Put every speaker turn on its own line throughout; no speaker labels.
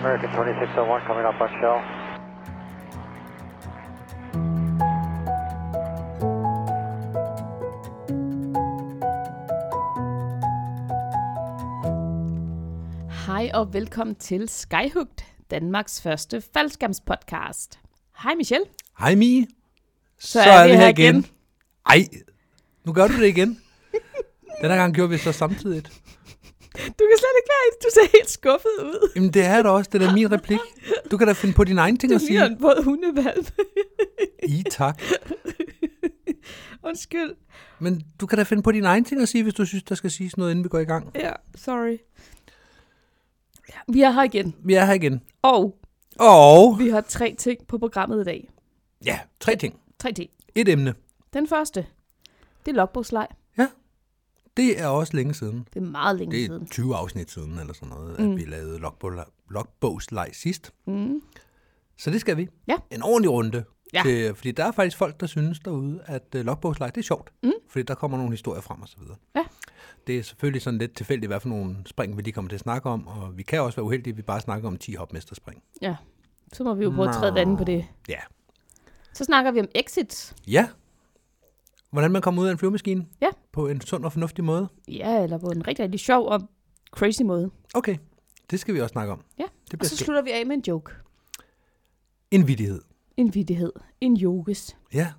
American 2601 coming up on shell.
Hej og velkommen til Skyhugt, Danmarks første faldskærmspodcast. Hej Michelle.
Hej Mie.
Så er vi her igen.
Ej, nu gør du det igen. Den her gang gjorde vi så samtidig.
Du kan slet ikke være i det. Du ser helt skuffet ud.
Jamen det er da også, det er da min replik. Du kan da finde på dine egne ting
Du
at
ligner
sige.
en våd hundevalp.
I tak.
Undskyld.
Men du kan da finde på dine egne ting at sige, hvis du synes, der skal siges noget, inden vi går i gang.
Ja, sorry. Ja, vi er her igen,
Vi er her igen.
og
Og
vi har tre ting på programmet i dag.
ja, tre ting.
Tre ting.
Et emne.
Den første, det er logbogslej.
Det er også længe siden.
Det er meget længe
Det er
siden.
20 afsnit siden, eller sådan noget, at
Mm.
vi lavede logbog- logbogslej sidst.
Mm.
Så det skal vi.
Ja.
En ordentlig runde.
Ja.
Til, fordi der er faktisk folk, der synes derude, at uh, logbogslej, det er sjovt. Mm. Fordi der kommer nogle historier frem og så videre.
Ja.
Det er selvfølgelig sådan lidt tilfældigt, hvad for nogle spring, vi lige kommer til at snakke om. Og vi kan også være uheldige, at vi bare snakker om 10 hopmesterspring.
Ja, så må vi jo prøve at træde vandet på det.
Ja.
Så snakker vi om exit.
Ja. Hvordan man kommer ud af en flyvemaskine.
Ja.
På en sund og fornuftig måde.
Ja, eller på en rigtig, rigtig sjov og crazy måde.
Okay. Det skal vi også snakke om.
Ja.
Det
Og
bliver
så
slut.
slutter vi af med en joke.
En vidighed.
En vidighed. En jokes.
Ja.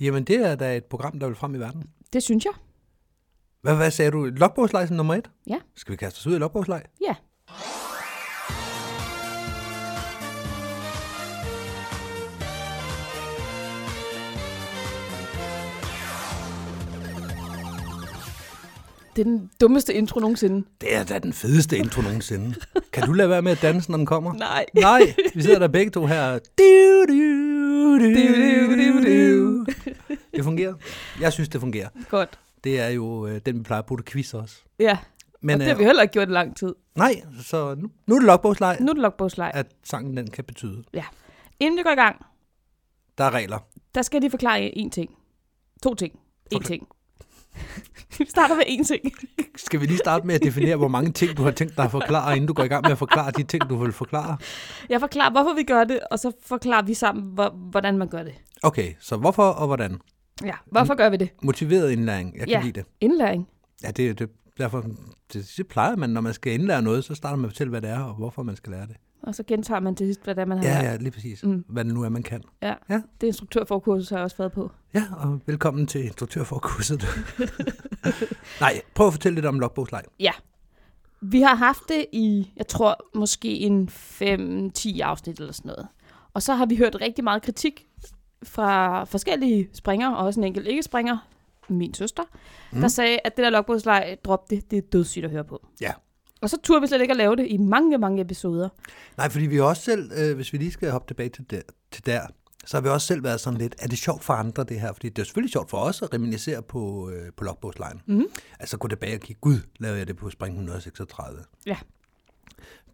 Jamen, det er da et program, der vil frem i verden.
Det synes jeg.
Hvad, hvad sagde du? Logbogslej som nummer et?
Ja.
Skal vi kaste os ud i logbogslej?
Ja. Det er den dummeste intro nogensinde.
Det er da den fedeste intro nogensinde. Kan du lade være med at danse, når den kommer?
Nej.
Nej, vi sidder der begge to her. Du, du, du, du, du, du. Det fungerer. Jeg synes, det fungerer.
Godt.
Det er jo øh, den, vi plejer at bruge til quiz også.
Ja, Men, og
Men
det har
øh,
vi heller ikke gjort i lang tid.
nej, så nu, nu er det logbogslej,
Nu er det logbogslej.
at sangen den kan betyde.
Inden vi går i gang,
Der er regler.
der skal jeg lige forklare jer en ting. To ting. En
Okay.
ting. vi starter med en ting.
Skal vi lige starte med at definere, hvor mange ting, du har tænkt dig at forklare, inden du går i gang med at forklare de ting, du vil forklare?
Jeg forklarer, hvorfor vi gør det, og så forklarer vi sammen, hvor, hvordan man gør det.
Okay, så hvorfor og hvordan?
Ja, Mm. hvorfor gør vi det?
Motiveret indlæring, jeg kan
Ja.
lide det.
Indlæring.
Ja, det, det, derfor, det, det plejer man, når man skal indlære noget, så starter man med at fortælle, hvad det er, og hvorfor man skal lære det.
Og så gentager man til sidst, hvad det er, man har
Ja,
lært.
ja, lige præcis.
Mm.
Mm. Hvad det nu er, man kan.
Det instruktørforkursus har jeg også været på.
Ja, og velkommen til instruktørforkurset. Nej, prøv at fortælle lidt om logbogslej.
Vi har haft det i, jeg tror, måske en 5-10 afsnit eller sådan noget. Og så har vi hørt rigtig meget kritik fra forskellige springere, og også en enkelt ikke-springer, min søster, mm. der sagde, at det der logbogslej, drop det, det er dødssygt at høre på.
Ja.
Og så turde vi slet ikke at lave det i mange, mange episoder.
Nej, fordi vi har også selv, øh, hvis vi lige skal hoppe tilbage til der, til der, så har vi også selv været sådan lidt, er det sjovt for andre det her? Fordi det er selvfølgelig sjovt for os at reminiscere på, øh, på logbogslejen.
Mhm.
Altså gå tilbage og kigge, gud, lavede jeg det på spring 136.
Ja.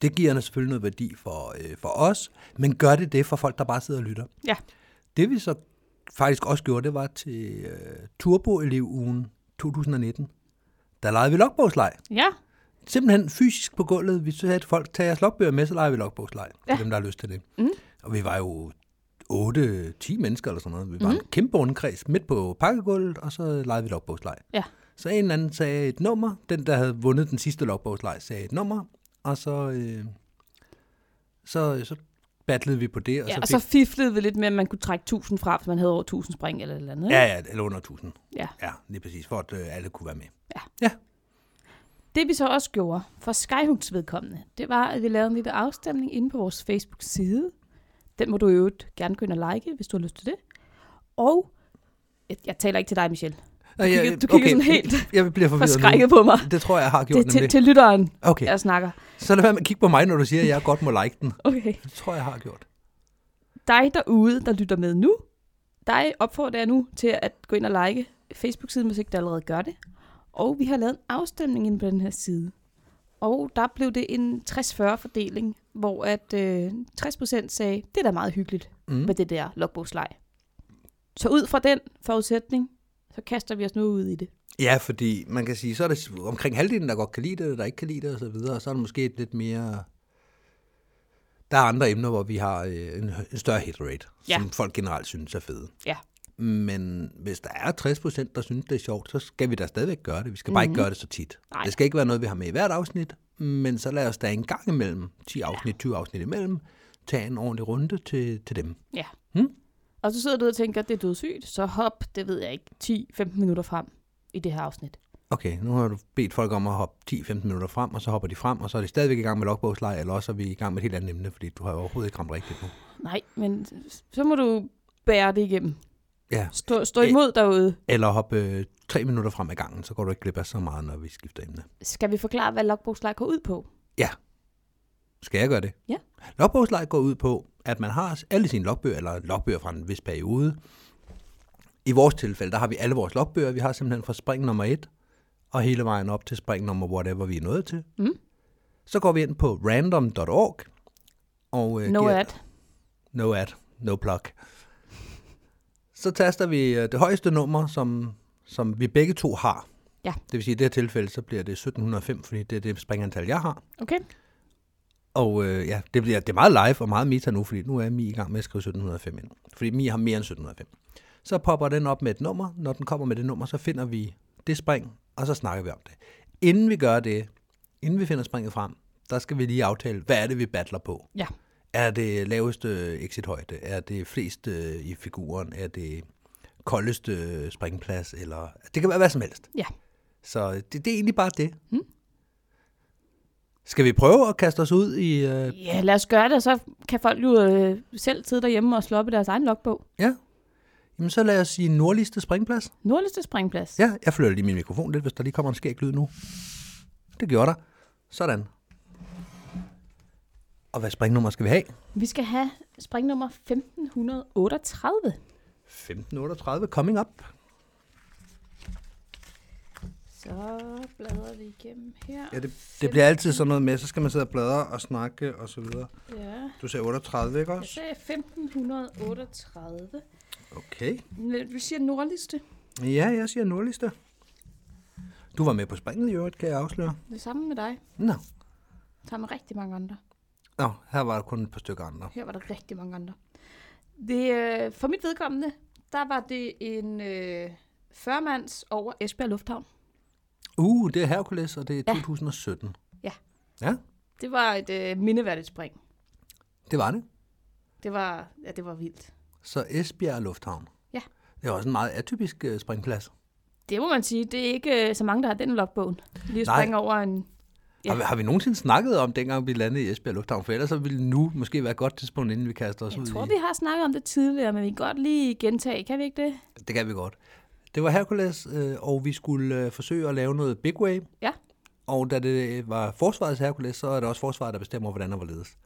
Det giver selvfølgelig noget værdi for, øh, for os, men gør det det for folk, der bare sidder og lytter?
Ja.
Det vi så faktisk også gjorde, det var til øh, Turbo-elevugen 2019. Der legede vi logbogslej
Ja,
simpelthen fysisk på gulvet. Vi sagde, at folk tager jeres logbøger med, så leger vi logbogslej. Ja.
Ja.
Til dem, der har lyst til det.
Mm.
Og vi var jo 8-10 mennesker eller sådan noget. Vi var mm. en kæmpe rundkreds midt på pakkegulvet, og så legede vi logbogslej.
Ja.
Så en eller anden sagde et nummer. Den, der havde vundet den sidste logbogslej, sagde et nummer. Og så, øh, så, så battlede vi på det. Og
ja,
så
og
fik
så fiflede vi lidt med, at man kunne trække 1000 fra, hvis man havde over 1000 spring eller et eller andet. ikke?
Ja, ja, eller under 1000.
Ja.
ja lige præcis, for at øh, alle kunne være med.
Det vi så også gjorde for Skyhooks vedkommende, det var, at vi lavede en lille afstemning inde på vores Facebook-side. Den må du i øvrigt gerne gå ind og like, hvis du har lyst til det. Og jeg, jeg taler ikke til dig, Michelle.
Du
kigger- du kigger sådan helt
jeg bliver
For
forvirret nu.
skrækket på mig.
Det tror jeg, jeg har gjort
Det er til,
nemlig.
til lytteren,
Okay.
jeg snakker.
Så lad være med at kigge på mig, når du siger, at jeg godt må like den.
Okay.
Det tror jeg, jeg har gjort.
Dig derude, der lytter med nu, dig opfordrer jeg nu til at gå ind og like Facebook-siden, hvis ikke du allerede gør det. Og vi har lavet en afstemning inde på den her side. Og der blev det en 60-40 fordeling, hvor at øh, 60% sagde, det er da meget hyggeligt.
Mm.
med det der logbogslej. Så ud fra den forudsætning, så kaster vi os nu ud i det.
Ja, fordi man kan sige, så er det omkring halvdelen, der godt kan lide det, der ikke kan lide det osv., og så er det måske et lidt mere Der er andre emner, hvor vi har øh, en, en større hit rate,
Ja.
som folk generelt synes er fede.
Ja.
Men hvis der er 60 procent, der synes, det er sjovt, så skal vi da stadigvæk gøre det. Vi skal bare mm-hmm. ikke gøre det så tit.
Mhm. Nej.
Det skal ikke være noget, vi har med i hvert afsnit, men så lad os da en gang imellem, 10 afsnit, 20 afsnit imellem, tage en ordentlig runde til, til dem.
Ja.
Hmm?
Og så sidder du og tænker, at det er dødssygt, så hop, det ved jeg ikke, 10-15 minutter frem i det her afsnit.
Okay, nu har du bedt folk om at hoppe 10-15 minutter frem, og så hopper de frem, og så er de stadigvæk i gang med logbogsleje, eller også er vi i gang med et helt andet emne, fordi du har jo overhovedet ikke ramt rigtigt nu.
Nej, men så må du bære det igennem.
Ja,
Stå, stå imod derude.
eller hoppe øh, 3 minutter frem ad gangen, så går du ikke glip af så meget, når vi skifter emne.
Skal vi forklare, hvad logbogslej går ud på?
Skal jeg gøre det?
Ja.
Logbogslej går ud på, at man har alle sine logbøger, eller logbøger fra en vis periode. I vores tilfælde, der har vi alle vores logbøger. Vi har simpelthen fra spring nummer 1 og hele vejen op til spring nummer whatever, vi er nået til.
Mm.
Så går vi ind på random.org. Og, øh,
No
giver-
ad.
No ad. No plug. Så taster vi øh, det højeste nummer, som, som vi begge to har.
Ja.
Det vil sige, at i det her tilfælde, så bliver det 1705, fordi det er det springantal, jeg har.
Okay.
Og øh, ja, det, bliver, det er meget live og meget meta nu, fordi nu er Mi i gang med at skrive 1705 ind. Fordi Mi har mere end 1705. Så popper den op med et nummer. Når den kommer med det nummer, så finder vi det spring, og så snakker vi om det. Inden vi gør det, inden vi finder springet frem, der skal vi lige aftale, hvad er det, vi battler på?
Ja.
Er det laveste exithøjde? Er det flest øh, i figuren? Er det koldeste øh, springplads? Eller... Det kan være hvad som helst.
Ja.
Så det, det er egentlig bare det. Hmm. Skal vi prøve at kaste os ud i... Øh...
Ja, lad os gøre det, og så kan folk jo øh, selv sidde derhjemme og slå op i deres egen logbog.
Ja. Jamen så lad os sige nordligste springplads.
Nordligste springplads.
Ja, jeg flytter lige min mikrofon lidt, hvis der lige kommer en skæg lyd nu. Det gjorde der. Sådan. Og hvad springnummer skal vi have?
Vi skal have springnummer 1538.
1538 coming up.
Så bladrer vi igennem her.
Ja, det, det bliver altid sådan noget med, så skal man sidde og bladre og snakke og så videre.
Ja.
Du ser 38, ikke
Jeg
også?
sagde 1538.
Okay.
Men Vi siger nordligste.
Ja, jeg siger nordligste. Du var med på springet i øvrigt, kan jeg afsløre.
Det samme med dig.
Nå.
Sammen med rigtig mange andre.
Nå, her var der kun et par stykker andre.
Her var der rigtig mange andre. Det, øh, for mit vedkommende, der var det en øh, 40-mands over Esbjerg Lufthavn.
Uh, det er Hercules, og det er
Ja.
2017.
Ja.
Ja,
Det var et øh, mindeværdigt spring.
det var det.
Det var, ja, det var vildt.
Så Esbjerg Lufthavn.
Ja.
Det er også en meget atypisk øh, springplads.
Det må man sige. Det er ikke øh, så mange, der har den i logbogen. Lige at
Nej.
springe over en... Ja.
Ja. Har, vi, har vi nogensinde snakket om, dengang vi landede i Esbjerg Lufthavn? For ellers så ville nu måske være et godt tidspunkt, inden vi kaster os
Jeg
ud
tror,
i...
vi har snakket om det tidligere, men vi kan godt lige gentage. Kan vi ikke det?
Det kan vi godt. Det var Hercules, øh, og vi skulle øh, forsøge at lave noget big way.
Ja.
Og da det var forsvarets Hercules, så er det også forsvaret, der bestemmer, hvordan og hvorledes.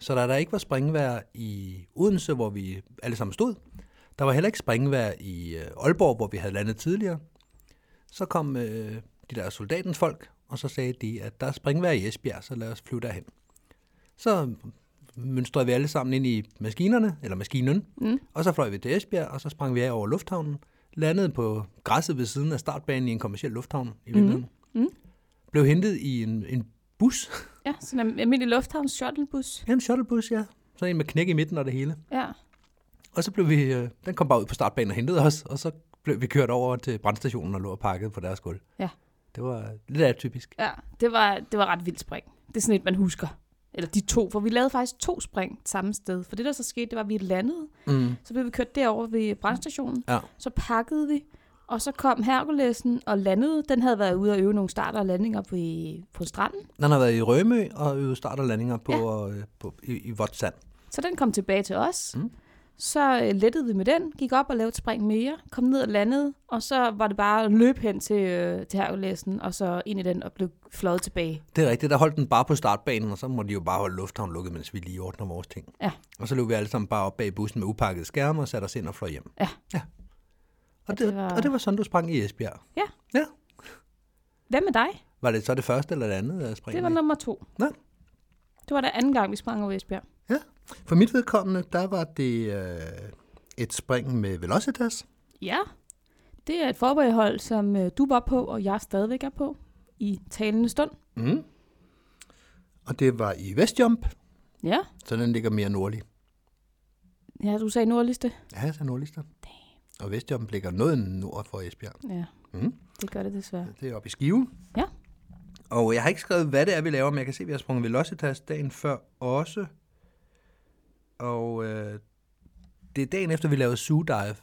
Så da der ikke var springvær i Odense, hvor vi alle sammen stod, der var heller ikke springvær i øh, Aalborg, hvor vi havde landet tidligere, så kom øh, de der soldatens folk, og så sagde de, at der er springvær i Esbjerg, så lad os flyve derhen. Så mønstrede vi alle sammen ind i maskinerne, eller maskinen, mm. og så fløj vi til Esbjerg, og så sprang vi af over lufthavnen, landede på græsset ved siden af startbanen i en kommersiel lufthavn i Vinden. Mm. Blev hentet i en, en bus,
Ja, sådan en almindelig lufthavn shuttlebus.
ja, en shuttlebus, ja, sådan en med knæk i midten og det hele.
Ja.
Og så blev vi, øh, den kom bare ud på startbanen og hentede os, og så blev vi kørt over til brandstationen og lå og pakket på deres gulv.
Ja.
Det var lidt atypisk.
Ja, det var, det var ret vildt spring. Det er sådan et, man husker. Eller de to, for vi lavede faktisk to spring samme sted. For det, der så skete, det var, at vi landede.
Mm.
Så blev vi kørt derover ved brandstationen.
Ja.
Så pakkede vi, og så kom Herkulesen og landede. Den havde været ude og øve nogle starter og landinger på, på stranden.
Den har været i Rømø og øvet start og landinger på,
Ja.
ja. på, i, i Votsand.
Så den kom tilbage til os.
Mm.
Så øh, lettede vi med den, gik op og lavede et spring mere, kom ned og landede, og så var det bare at løbe hen til, øh, til Herkulæsen, og så ind i den og blev fløjet tilbage.
Det er rigtigt, der holdt den bare på startbanen, og så må de jo bare holde lufthavnen lukket, mens vi lige ordner vores ting.
Ja.
Og så løb vi alle sammen bare op bag bussen med upakket skærme og satte os ind og fløj hjem.
Ja.
ja. Og, det,
det var-
var... og det var sådan, du sprang i Esbjerg.
Ja.
Ja.
Hvad med dig?
Var det så det første eller det andet at springe?
Det var
i?
nummer to.
Nå.
Det var da anden gang, vi sprang over Esbjerg.
Ja. For mit vedkommende, der var det øh, et spring med Velocitas.
Ja. Det er et forbehold, som øh, du var på, og jeg stadigvæk er på i talende stund.
Mm. Og det var i Vestjump.
Ja.
Så den ligger mere nordlig.
Ja, du sagde nordligste.
Ja, så nordligste. Og Vestjommen ligger noget nord for Esbjerg.
Ja,
Mm.
det gør det desværre.
Det er oppe i Skive.
Ja.
Og jeg har ikke skrevet, hvad det er, vi laver, men jeg kan se, at vi har sprunget Velocitas dagen før også. Og øh, det er dagen efter, vi lavede Zoo Dive.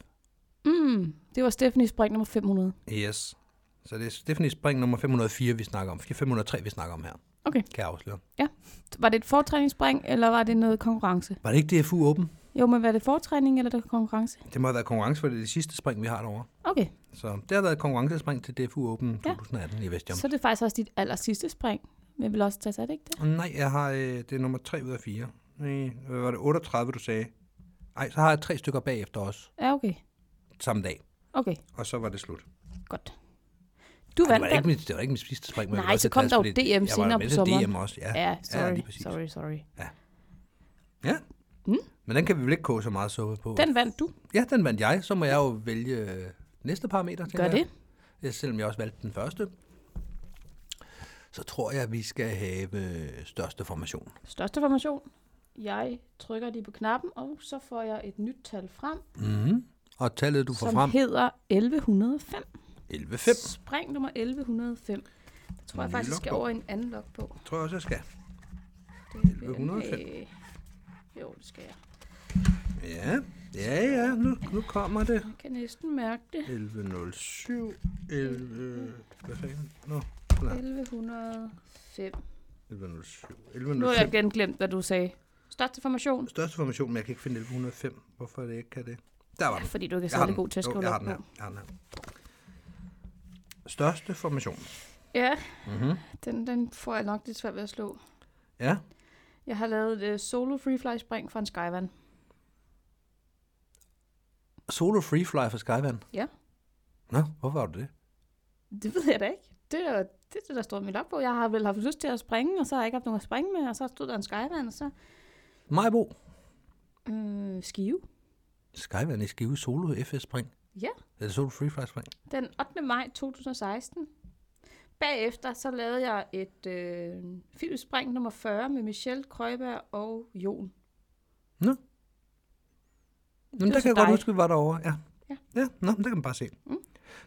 Mm, det var Stephanie Spring nummer 500.
Yes. Så det er Stephanie Spring nummer 504, vi snakker om. 503, vi snakker om her,
Okay.
kan jeg afsløre.
Var det et fortræningsspring, eller var det noget konkurrence?
Var det ikke DFU Open?
Jo, men var det fortræning, eller det var konkurrence?
Det må have været konkurrence, for det er det sidste spring, vi har derovre.
Okay,
Så det har været konkurrencespring til DFU Open
Ja.
2018 i Vestjom.
så er det faktisk også dit aller sidste spring. Men vil også tage er det ikke det?
Nej, jeg har, øh, det er nummer 3 ud af 4. Nej, hvad var det 38, du sagde? Nej, så har jeg tre stykker bagefter også,
Ja, okay.
samme dag.
Okay,
Og så var det slut.
godt. Du
Det
vandt
var,
den.
ikke mit, det var ikke mit sidste spring. men
Nej,
jeg vil også
så kom
tage
der jo
split.
DM
jeg var
senere
med
på
til
sommeren.
DM også, ja.
Ja, sorry,
lige præcis.
sorry, sorry.
ja.
Mm.
Men den kan vi vel ikke koge så meget suppe på.
Den vandt du.
Ja, den vandt jeg. Så må jeg jo vælge øh, næste parameter. tænker
Gør
jeg.
det.
Ja, selvom jeg også valgte den første. Så tror jeg, vi skal have øh, største formation.
Største formation. Jeg trykker lige på knappen, og så får jeg et nyt tal frem,
Mm. Og tallet, du får
som
frem,
hedder 1105.
11.5.
Spring nummer 1105. Jeg tror jeg
Ny
faktisk skal
logbog.
over i en anden logbog.
Tror jeg også, jeg skal.
Det
1105.
Øh, jo, det skal jeg.
Ja, ja, ja. Nu, nu kommer det.
Jeg kan næsten mærke det.
11.07. 11... Hvad fanden? Nå. Nej.
1105.
11.07.
Nu har jeg
11.05.
igen glemt, hvad du sagde. Største formation.
Største formation, men jeg kan ikke finde 1105. Hvorfor er det ikke kan det? Der var den.
Fordi du ikke er
Jeg har den.
særlig god til at
Jo,
skrive
jeg har den
logbog.
her. Jeg har den her. Største formation.
Ja,
Mm-hmm.
den, den får jeg nok lidt svært ved at slå.
Ja.
Jeg har lavet et uh, solo freefly spring fra en skyvan.
Solo Free Fly fra Skyvand.
Ja.
Nå, hvorfor var du det?
Det ved jeg da ikke. Det er det, er det, der står i min logbog. Jeg har vel haft lyst til at springe, og så har jeg ikke haft nogen at springe med, og så stod der en skyvan, og så
Majbo.
øh, skive.
Skyvand i Skive Solo FS Spring.
Ja.
Eller Solo Free Fly Spring.
Den 8. maj 2016. Bagefter så lavede jeg et øh, filmspring nummer 40 med Michelle Krøjberg og Jon.
Nå. Nå,
var
men der
så
kan jeg godt
dig.
huske, vi var derovre. Ja.
Ja.
ja. Nå, men der kan man bare se.
Mm.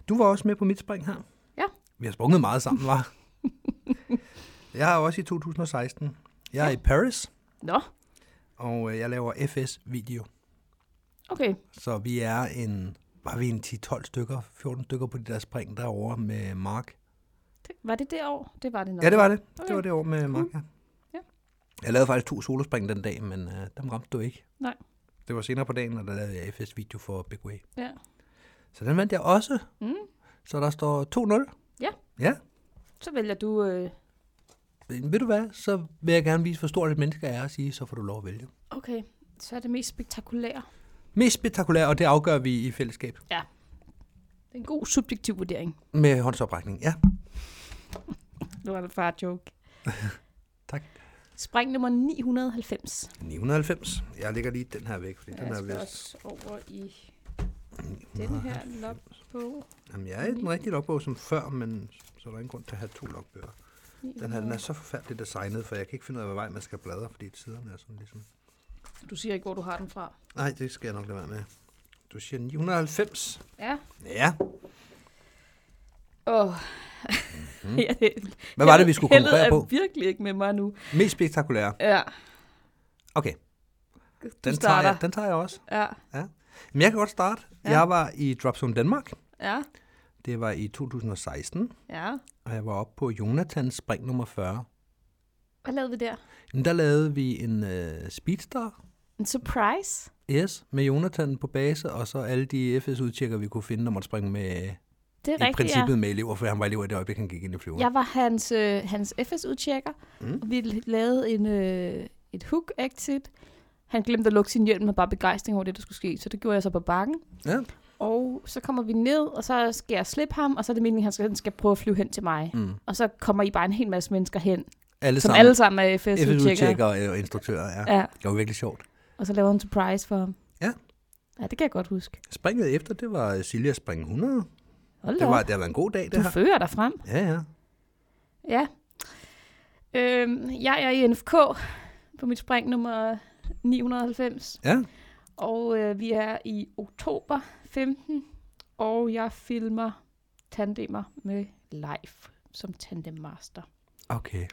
Du var også med på mit spring her.
Ja.
Vi har sprunget meget sammen, var. jeg er også i 2016. Jeg er i Paris,
Nå,
og øh, jeg laver FS-video.
okay.
Så vi er en, var vi en 10-12 stykker, 14 stykker på de der spring derovre med Mark.
Det, var det det år? Det var det nok.
Ja, det var det.
Okay. Mm.
Det var det år med Mark, ja.
Ja.
Jeg lavede faktisk to solospring den dag, men øh, dem ramte du ikke.
Nej.
Det var senere på dagen, og der lavede jeg FS-video for Big Way.
Ja.
Så den vandt jeg også.
Mm.
Så der står 2-0.
Ja.
Ja.
Så vælger du... Øh,
Men Ved du hvad, så vil jeg gerne vise, hvor stort et menneske jeg er, og sige, så får du lov at vælge.
okay, så er det mest spektakulære.
Mest spektakulært, og det afgør vi i fællesskab.
Det er en god subjektiv vurdering.
Med håndsoprækning, ja.
Nu er det bare joke.
Tak.
Spring nummer 990.
990. Jeg lægger lige den her væk, fordi den
jeg
er
skal
vist...
også over i den her logbog.
Jamen, jeg er i den rigtige logbog som før, men så er der ingen grund til at have to logbøger. Den her den er så forfærdeligt designet, for jeg kan ikke finde ud af, hvad vej man skal bladre, fordi siderne er sådan ligesom...
Du siger ikke, hvor du har den fra.
Nej, det skal jeg nok lade være med. Du siger 990.
Ja.
Ja.
Åh. Oh. Mm. ja, det,
Hvad var det, vi skulle
heldet
konkurrere
er
på?
virkelig ikke med mig nu.
Mest spektakulære.
Ja,
Okay,
du
den tager,
starter.
jeg, den tager jeg også.
Ja,
Men jeg kan godt starte.
Ja.
Ja. Jeg var i Dropzone Danmark.
ja,
Det var i 2016,
ja.
og jeg var oppe på Jonathans spring nummer 40.
Hvad lavede vi der?
Men der lavede vi en øh, speedstar,
En surprise?
yes, med Jonathan på base, og så alle de FS-udtjekker, vi kunne finde, når man springe med, i
Det er rigtigt,
princippet med elever, for han var elever i det øjeblik, han gik ind i flyveren.
Jeg var hans, øh, hans FS-udtjekker, mm.
Mm.
og vi lavede en, øh, et hook-exit. Han glemte at lukke sin hjelm med bare begejstring over det, der skulle ske, så det gjorde jeg så på bakken.
Ja.
Og så kommer vi ned, og så skal jeg slippe ham, og så er det meningen, at han skal, han skal prøve at flyve hen til mig.
Mm.
Og så kommer I bare en hel masse mennesker hen,
Alle
som
sammen
alle sammen er FS-udtjekkere.
FS-udtjekker og øh, instruktører, ja.
Ja,
Det var virkelig sjovt.
og så laver han en surprise for ham.
Ja.
Ja, det kan jeg godt huske.
Springet efter, det var Silja Spring 100.
Hold da
Det, var,
op,
det har været en god dag, det
du
her.
fører dig frem.
Ja, ja.
Ja. Øhm, jeg er i NFK på mit spring nummer 990.
Ja,
Og øh, vi er i oktober 15, og jeg filmer tandemer med live som tandemmaster.
okay.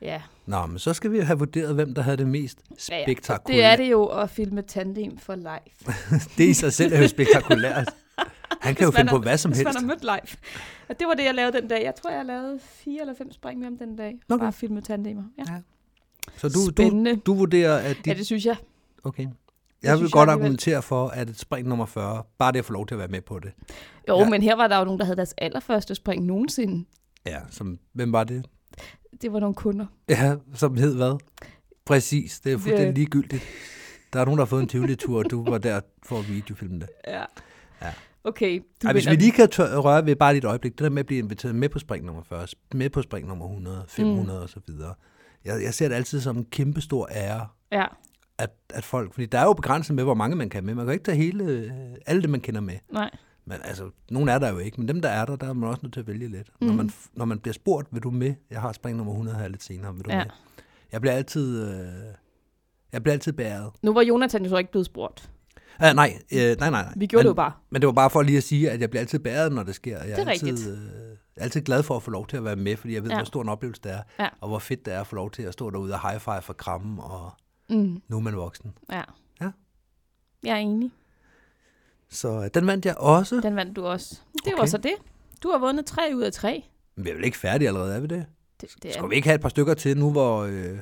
Ja,
Nå, men så skal vi have vurderet, hvem der havde det mest
Ja, ja.
spektakulære.
det er det jo at filme tandem for live.
det i sig selv er jo spektakulært. Han kan jo
Hvis man
finde på
er-
hvad som
Hvis man
helst.
har mødt live. Og det var det, jeg lavede den dag. Jeg tror, jeg lavede fire eller fem spring med om den dag.
Okay.
Okay. Bare filmet tandemer. Ja.
Ja. Så du, du,
Spændende.
du vurderer, at
Ja,
dit...
det synes jeg.
Okay. Jeg,
Jeg
vil
synes,
godt
jeg alligevel-
argumentere for, at et spring nummer 40, bare det at få lov til at være med på det.
Jo,
Ja.
ja. men her var der jo nogen, der havde deres allerførste spring nogensinde.
Ja, som, hvem var det?
Det var nogle kunder.
Ja, som hed hvad? Præcis, det er fuldstændig ligegyldigt. Der er nogen, der har fået en tivoli-tur, og du var der for at videofilme det.
Ja.
Ja.
Okay, du
Ej, hvis
vinder
vi lige kan tør- røre ved bare lige et øjeblik, det der med at blive inviteret med på spring nummer 40, med på spring nummer 100, 500 mm. og så videre. Jeg, jeg ser det altid som en kæmpe stor ære,
den. Ja,
at, at folk, fordi der er jo begrænset med, hvor mange man kan med. Man kan jo ikke tage hele, øh, alle det, man kender med.
nej.
Men altså, nogen er der jo ikke, men dem, der er der, der er man også nødt til at vælge lidt. Mm. Når,
Mhm.
man, når man bliver spurgt, vil du med? Jeg har spring nummer 100 her lidt senere, vil du ja.
Ja.
med? Jeg bliver altid, øh, jeg bliver altid bæret.
Nu var Jonathan jo så ikke blevet spurgt.
Ah, nej, øh, nej, nej, nej.
Vi gjorde
men,
det jo bare.
Men det var bare for lige at sige, at jeg bliver altid bæret, når det sker. Jeg
Det er
altid, øh, jeg er altid glad for at få lov til at være med, fordi jeg ved, ja.
Ja.
hvor stor en oplevelse det er,
Ja.
og hvor fedt det er at få lov til at stå derude og high-five for krammen, og
Mm,
nu er man voksen.
ja.
Ja.
Jeg er enig.
Så øh, den vandt jeg også.
Den vandt du også. Det var
Okay.
så det. Du har vundet tre ud af tre.
Men vi er vel ikke færdige allerede, er vi det?
Det, det
Skal vi ikke have et par stykker til, nu hvor, øh,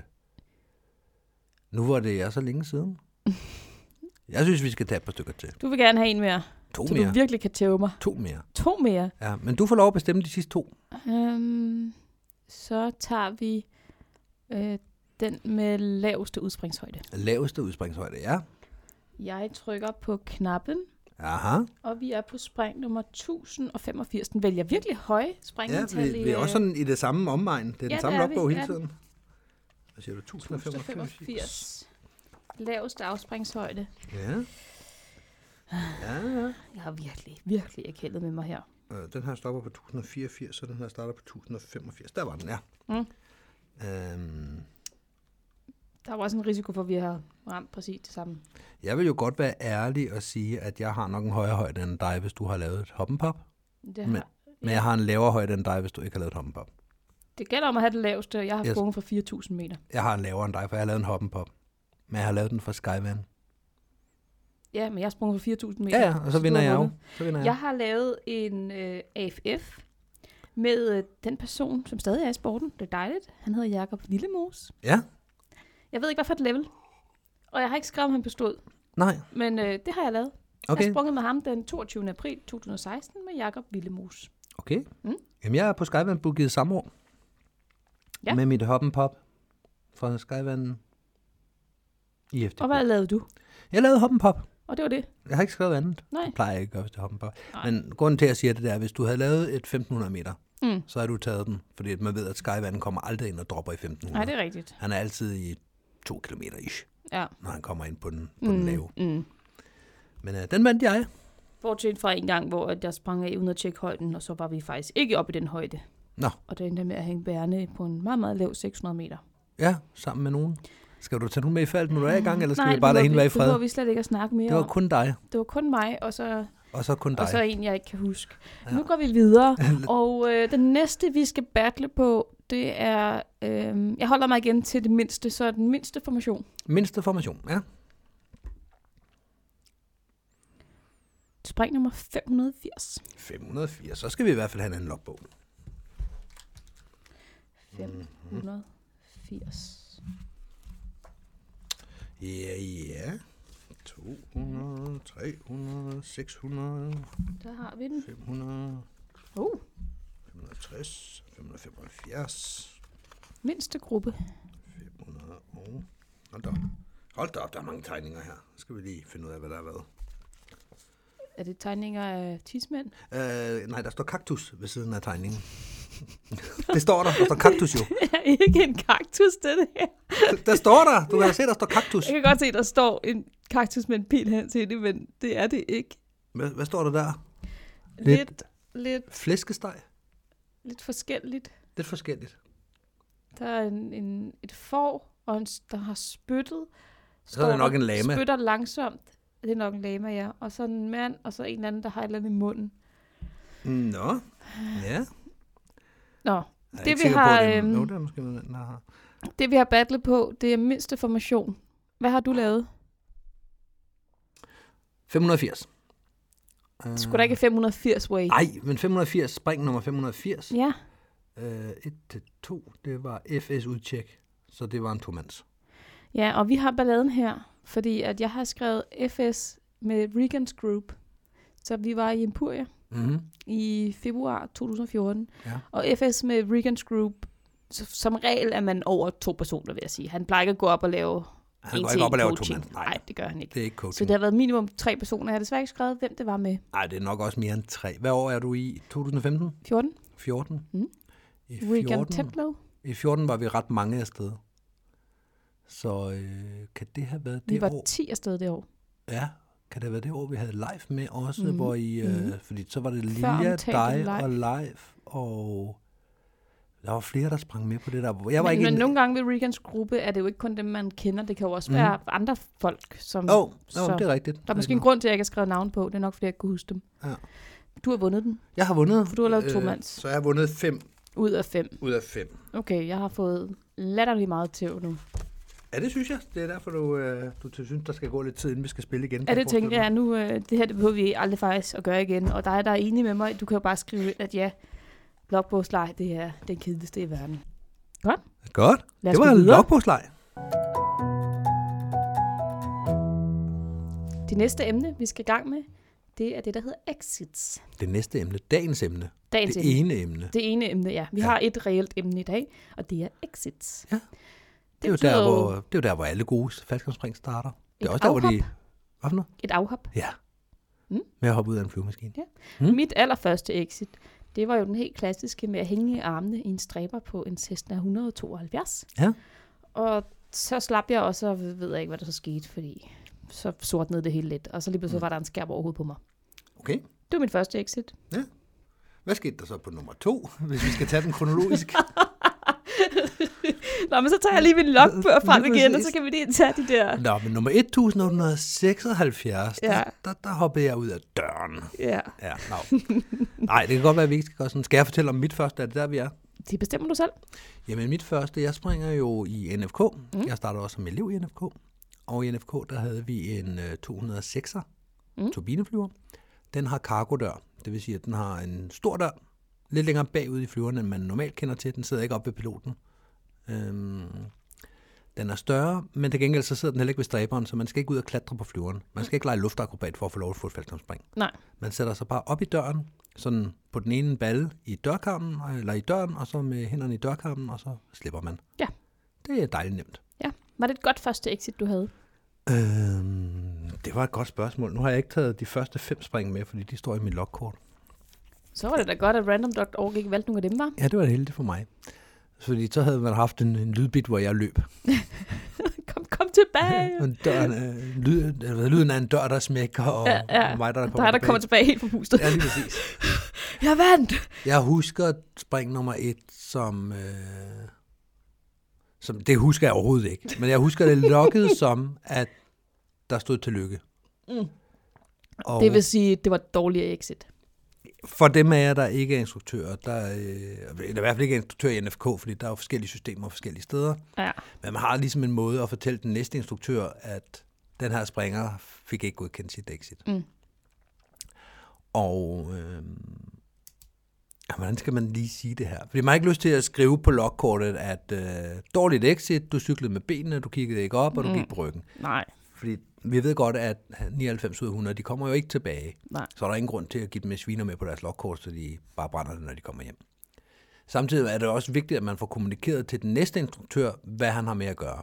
nu hvor det er så længe siden? Jeg synes, vi skal tage et par stykker til.
Du vil gerne have en mere,
To
så
mere.
du virkelig kan tæve mig.
To mere.
To mere.
Ja, men du får lov at bestemme de sidste to.
Øhm, så tager vi øh, den med laveste udspringshøjde.
Laveste udspringshøjde, ja.
Jeg trykker på knappen,
Aha.
og vi er på spring nummer 1085. Den vælger virkelig høje
Ja,
springtal.
vi, vi er
øh,
også sådan i det samme omegn. Det er den
Ja,
samme
det er vi.
opgave hele
Ja.
tiden. Hvad siger du? 1085.
1085. Laveste afspringshøjde.
Ja. Ja, ja.
Jeg har virkelig, virkelig erkendt med mig her.
Øh, Den her stopper på 1084, og den her starter på 1085. Der var den, ja.
Mm.
Øhm,
Der var også en risiko for, at vi har ramt præcis det samme.
Jeg vil jo godt være ærlig og sige, at jeg har nok en højere højde end dig, hvis du har lavet et hoppenpop.
Det,
Men-
har,
Men jeg har en lavere højde end dig, hvis du ikke har lavet et hoppenpop.
det gælder om at have det laveste. Jeg har
Yes.
sprunget fra 4.000 meter.
Jeg har en lavere end dig, for jeg har lavet en hoppenpop. Men jeg har lavet den fra Skyvan.
Ja, men jeg har sprunget fra 4.000 meter.
Ja, ja, og så
du
vinder
har
jeg jo.
vundet.
Så vinder
Jeg
jeg.
har lavet en øh, AFF med øh, den person, som stadig er i sporten. Det er dejligt. Han hedder Jakob Lillemos.
Ja?
Jeg ved ikke, hvad for et level. Og jeg har ikke skrevet, om han bestod.
Nej.
Men øh, det har jeg lavet. Jeg har
Okay.
sprunget med ham den 22. april 2016 med Jakob Lillemos.
Okay.
Mm.
Jamen, jeg er på Skyvan booket samme år.
Ja.
Med mit hoppenpop fra Skyvan. IFT.
Og hvad lavede du?
Jeg lavede hoppenpop.
Og det var det.
Jeg har ikke skrevet andet.
Nej.
Det plejer jeg ikke at gøre, hvis det er hoppenpop.
Nej.
Men grunden til, at jeg siger det, der, er, hvis du havde lavet et 1500 meter,
Mm.
så har du taget den, fordi at man ved, at Skyvand kommer aldrig ind og dropper i
Nej,
1500.
det er rigtigt.
Han er altid i 2 km ish,
Ja.
når han kommer ind på den, på mm. den lave.
Mm.
Men øh, den vandt jeg.
Bortset fra en gang, hvor at jeg sprang af uden at tjekke højden, og så var vi faktisk ikke oppe i den højde.
Nå,
Og det endte med at hænge bærende på en meget, meget lav 600 meter.
ja, sammen med nogen. Skal du tage nogen med i fald, når du er i gang, eller skal
Nej,
vi bare
det
lade
behøver
hende være
vi-
i
Det
fred?
behøver vi slet ikke at snakke mere
Det var
om.
kun dig,
Det var kun mig, og så,
og så kun dig.
og så en, jeg ikke kan huske. Ja. Nu går vi videre, og øh, den næste, vi skal battle på, det er... Øh, jeg holder mig igen til det mindste, så den mindste formation.
Mindste formation, ja.
Spring nummer 580.
504, så skal vi i hvert fald have en anden logbog.
580.
Ja, ja. 200, 300, 600,
Der har vi den.
500,
Oh,
560, 575.
mindste gruppe.
500 og... Hold da op. Hold da op, der er mange tegninger her. Nu skal vi lige finde ud af, hvad der er været.
Er det tegninger af tidsmænd?
Øh, nej, der står kaktus ved siden af tegningen. det står der. Der står kaktus jo.
Det er ikke en kaktus, det her.
Der står der. Du kan da se, der står kaktus.
Jeg kan godt se, der står en kaktus med en pil hen til det, men det er det ikke.
Hvad, hvad står der der? Lidt.
Lidt, lidt,
Flæskesteg.
lidt forskelligt.
Lidt forskelligt.
Der er en, en, et får, og en, s- der har spyttet.
Så er det
står
nok
og
en lama.
Spytter langsomt. Det er nok en lama, ja. Og så en mand, og så en eller anden, der har et eller andet i munden.
Nå, ja.
Nå,
Jeg er
Det,
ikke
vi
sikker
har,
på, at det, er-
øhm,
jo, det er måske noget, den har.
det vi har battlet på, det er mindste formation. Hvad har du lavet?
580. Øh,
Skulle der ikke 580 way?
Nej, men 580, spring nummer 580.
Ja.
Øh, 1 til 2, det var FS udtjek, så det var en tomands.
Ja, og vi har balladen her, fordi at jeg har skrevet FS med Regans Group. Så vi var i Empuria
Mm-hmm.
i februar 2014,
Ja.
og FS med Regans Group, så, som regel er man over to personer, vil jeg sige. Han plejer ikke at gå op og lave
Han
en
går
til
ikke op
en
og laver
coaching.
tomands.
Nej,
Nej,
det gør han ikke.
det er ikke
Så
coaching.
det har været minimum tre personer. Jeg har desværre ikke skrevet, hvem det var med.
Nej, det er nok også mere end 3. Hvad år er du i? 2015?
14?
14?
Mm.
I
Regan Teplow?
I 14 var vi ret mange afsted. Så øh, kan det have været
Vi
det
var
år?
10 afsted det år.
Ja, kan det have været det år, vi havde live med også, mm.
Mhm,
hvor I, øh,
mhm.
fordi så var det
Før
Lilja,
omtalte
dig
live.
og live, og der var flere, der sprang med på det der. Jeg var
men,
ikke
men
en-
nogle gange ved Regans gruppe er det jo ikke kun dem, man kender. Det kan jo også
Mhm.
være andre folk, som...
Åh, oh,
Så-
oh, det er rigtigt.
Der er måske en grund til, at jeg ikke har skrevet navn på. Det er nok, fordi jeg ikke kunne huske dem.
Ja.
Du har vundet den
Jeg har vundet. Øh,
For du har lavet tomands.
Så jeg har vundet 5
ud af fem.
ud af 5.
Okay, jeg har fået latterlig meget tæv nu.
Ja, det synes jeg. Det er derfor, du, øh, du synes, der skal gå lidt tid, inden vi skal spille igen.
Ja, det tænker jeg nu. Øh, det her det behøver vi aldrig faktisk at gøre igen. Og dig, der er enig med mig, du kan jo bare skrive ind, at ja, blogbogsleg, det er den kedeligste i verden.
Godt.
Lad os
Det
gå
var en
videre.
logbogslej.
Det næste emne, vi skal i gang med, det er det, der hedder exits.
Det næste emne, dagens emne,
Dagens
det
emne.
ene emne,
Det ene emne, ja. Vi
Ja.
ja. har et reelt emne i dag, og det er exits.
Ja. det er, jo
betyder
der, hvor, det er jo der, hvor alle gode faldskabsspring starter. Det er
Et
også der, hvor de...
afhop.
Hvad for noget?
et afhop.
Ja.
Mm.
Med at hoppe ud af en flyvemaskine. Hmm?
Mm. Mit allerførste exit, det var jo den helt klassiske med at hænge i armene i en stræber på en Cessna 172.
Ja.
Og så slap jeg også, og ved jeg ikke, hvad der så skete, fordi så sortnede det hele lidt. Og så lige pludselig var der en skærm overhovedet på mig.
Okay.
Det var mit første exit.
Hvad skete der så på nummer to, hvis vi skal tage den kronologisk?
Nå, men så tager jeg Mm. lige min logbøger frem
Lige
igen, og
præcis.
så kan vi lige tage de der...
Nå, men nummer 1876, ja.
Ja.
der, der, der hoppede jeg ud af døren.
Ja,
Ja, no. Nej, det kan godt være, at vi ikke skal gøre sådan. Skal jeg fortælle om mit første? Er det der, vi er?
det bestemmer du selv.
Jamen, mit første, jeg springer jo i NFK. Mm. Jeg startede også som elev i NFK. Og i NFK, der havde vi en øh, 206'er mm.
Mm.
turbineflyver. Den har kargodør, det vil sige, at den har en stor dør, lidt længere bagud i flyveren, end man normalt kender til. Den sidder ikke oppe ved piloten. Øhm, den er større, men til gengæld så sidder den heller ikke ved stræberen, så man skal ikke ud og klatre på flyveren. Man skal ikke lege luftakrobat for at få lov at få et faldskabsspring.
Nej.
Man sætter sig bare op i døren, sådan på den ene balle i dørkarmen, eller i døren, og så med hænderne i dørkarmen, og så slipper man.
Ja.
Det er dejligt nemt.
Ja. Var det et godt første exit, du havde?
Øhm, det var et godt spørgsmål. Nu har jeg ikke taget de første fem spring med, fordi de står i mit logkort.
Så var det da godt, at random.org ikke valgte nogen af dem, var.
Ja, det var heldigt for mig. Fordi så havde man haft en, en lydbit, hvor jeg løb.
Kom, kom tilbage!
Og døren, øh, lyd, øh, lyden af en dør, der smækker, og
Ja, ja.
mig, der kommer
Der er der kommer tilbage helt forpustet.
Ja, lige præcis.
Jeg vandt!
Jeg husker spring nummer et som... Øh, som det husker jeg overhovedet ikke. Men jeg husker det lokket som, at der stod tillykke.
Mm.
Og
Det vil sige, at det var et dårligt exit.
for dem af jer, der ikke er instruktører, der, øh, eller i hvert fald ikke er instruktør i NFK, fordi der er jo forskellige systemer forskellige steder,
Ja.
men man har ligesom en måde at fortælle den næste instruktør, at den her springer fik ikke godkendt sit exit.
Mm.
Og øh, hvordan skal man lige sige det her? Fordi man har ikke lyst til at skrive på logkortet, at øh, dårligt exit, du cyklede med benene, du kiggede ikke op, og du mm.
Mm.
gik på ryggen.
Nej,
Fordi vi ved godt, at 99 ud af 100, de kommer jo ikke tilbage.
nej.
Så er der ingen grund til at give dem en sviner med på deres logkort, så de bare brænder det, når de kommer hjem. Samtidig er det også vigtigt, at man får kommunikeret til den næste instruktør, hvad han har med at gøre.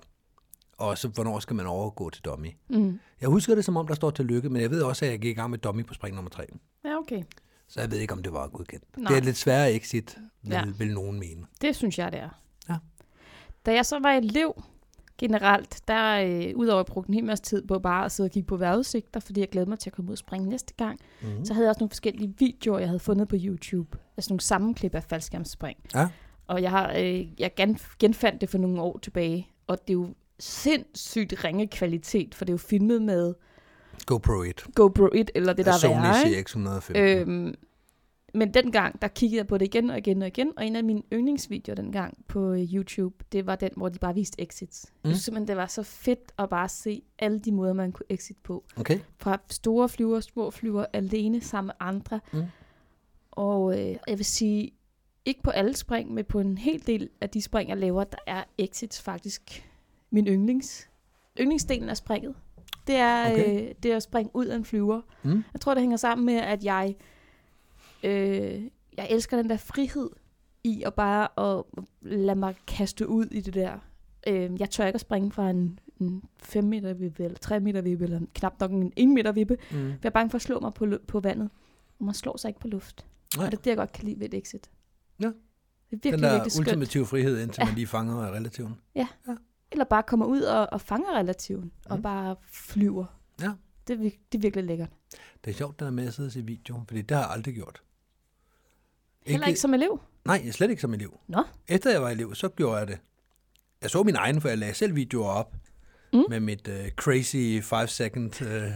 Og så, hvornår skal man overgå til dummy.
Mm.
Jeg husker det, som om der står til lykke, men jeg ved også, at jeg gik i gang med dummy på spring nummer 3.
Ja, okay.
Så jeg ved ikke, om det var godkendt. Nej.
Nej.
Det er et lidt sværere exit, vil, ja.
Ja.
vil nogen mene.
Det synes jeg, det er.
Ja.
Da jeg så var elev generelt, der øh, udover at jeg brugte en hel masse tid på bare at sidde og kigge på vejrudsigter, fordi jeg glædede mig til at komme ud og springe næste gang,
Mm.
så havde jeg også nogle forskellige videoer, jeg havde fundet på YouTube. Altså nogle sammenklip af faldskærmsspring.
Ja.
Og jeg, har, øh, jeg gen- genfandt det for nogle år tilbage, Og det er jo sindssygt ringe kvalitet, for det er jo filmet med
GoPro 1.
GoPro 1 eller det, der er
Sony
værre. ikke?
CX115. Øh.
Øhm, men dengang, der kiggede jeg på det igen og igen og igen, og en af mine yndlingsvideoer dengang på øh, YouTube, det var den, hvor de bare viste exits. Mm.
Mm.
Jeg synes simpelthen, det var så fedt at bare se alle de måder, man kunne exit på.
Okay.
Fra store flyver, små flyver, alene sammen med andre.
Mm.
Og øh, jeg vil sige, ikke på alle spring, men på en hel del af de spring, jeg laver, der er exits faktisk min yndlings. Yndlingsdelen af springet. Det er,
Okay.
okay. øh, det er at springe ud af en flyver.
Mm.
Jeg tror, det hænger sammen med, at jeg, øh, jeg elsker den der frihed i at bare at lade mig kaste ud i det der. Øh, jeg tør ikke at springe fra en, en 5 meter vippe, eller 3 meter vippe, eller knap nok en 1 meter vippe.
Mm.
Jeg er bange for at slå mig på, lu- på vandet. Og man slår sig ikke på luft.
Nej.
Og det er det, jeg godt kan lide ved et exit.
Ja.
Det er
Den
virkelig,
der
virkelig skønt.
ultimative frihed, indtil man lige fanger relativen.
Eller bare kommer ud og, og fanger relativen, mm. og bare flyver.
Mhm. Ja.
Det, er vir- det er virkelig lækkert.
Det er sjovt, den er med at sidde og se video, fordi det har jeg aldrig gjort.
Heller ikke som elev.
Nej, slet ikke som elev.
Nå.
Efter jeg var elev, så gjorde jeg det. Jeg så min egen, for jeg lagde selv videoer op
Mm.
mm. med mit uh, crazy 5 second. Uh, jeg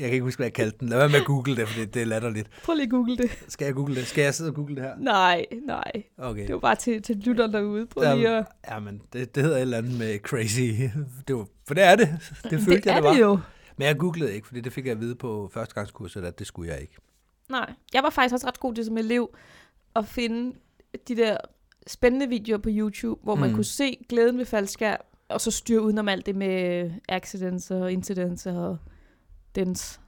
kan ikke huske, hvad jeg kaldte den. Lad være med at google det, for det, det er latterligt.
Prøv lige at google det.
Skal jeg google det? Skal jeg sidde og google det her?
Nej, nej.
Okay.
Det var bare til, til lytteren derude. Prøv
Ja,
lige at...
Ja, men det, det hedder et eller andet med crazy. Det var, for det er det. Det følte
det
jeg,
er
det var.
det jo.
Men jeg googlede ikke, fordi det fik jeg at vide på førstegangskurset, at det skulle jeg ikke.
Nej. Jeg var faktisk også ret god til som elev at finde de der spændende videoer på YouTube, hvor man
Mm.
kunne se glæden ved faldskær, og så styre udenom alt det med accidents og incidents og dens.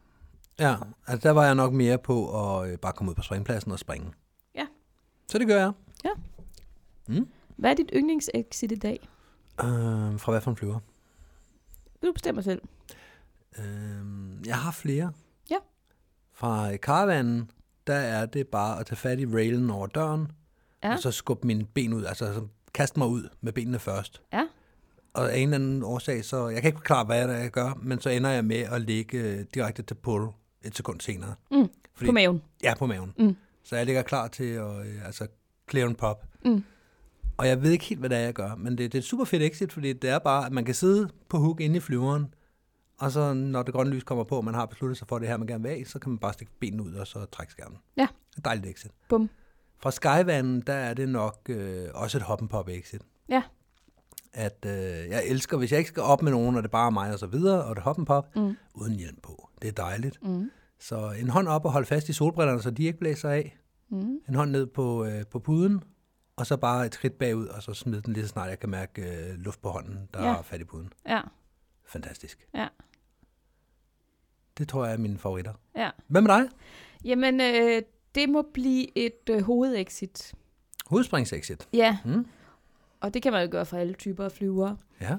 Ja, altså der var jeg nok mere på at øh, bare komme ud på springpladsen og springe.
Ja.
Så det gør jeg. Mm.
Hvad er dit yndlingsexit i dag?
Øh, fra hvad for en flyver?
Du bestemmer selv.
Øh, jeg har flere.
Ja.
Fra øh, karavanen, der er det bare at tage fat i railen over døren,
Ja.
og så skubbe mine ben ud, altså så kaste mig ud med benene først.
Ja.
Og af en eller anden årsag, så jeg kan ikke forklare, hvad jeg gør, men så ender jeg med at ligge øh, direkte til pull et sekund senere.
Mm,
Fordi-
På maven.
Ja, på maven.
Mm.
Så jeg ligger klar til at øh, altså, clear and pop.
Mm.
Og jeg ved ikke helt, hvad det er, jeg gør, men det, det er et super fedt exit, fordi det er bare, at man kan sidde på hook inde i flyveren, og så når det grønne lys kommer på, og man har besluttet sig for det her, man gerne vil af, så kan man bare stikke benene ud og så trække skærmen.
Ja.
Et dejligt exit.
Bum.
Fra Skyvanden, der er det nok øh, også et hop and pop exit.
Ja.
At øh, jeg elsker, hvis jeg ikke skal op med nogen, og det bare er mig og så videre, og det hop and pop,
Mm.
uden hjelm på. Det er dejligt.
Mm.
Så en hånd op og hold fast i solbrillerne, så de ikke blæser af.
Mm.
En hånd ned på, øh, på puden, og så bare et skridt bagud, og så smid den lige så snart jeg kan mærke øh, luft på hånden, der
Ja.
ja. er fat i puden.
Ja,
Fantastisk.
ja,
Det tror jeg er mine favoritter.
ja.
Hvad med dig?
Jamen, øh, det må blive et øh, hovedexit.
Hovedspringsexit.
Ja.
Mm.
Og det kan man jo gøre for alle typer af flyvere.
Ja.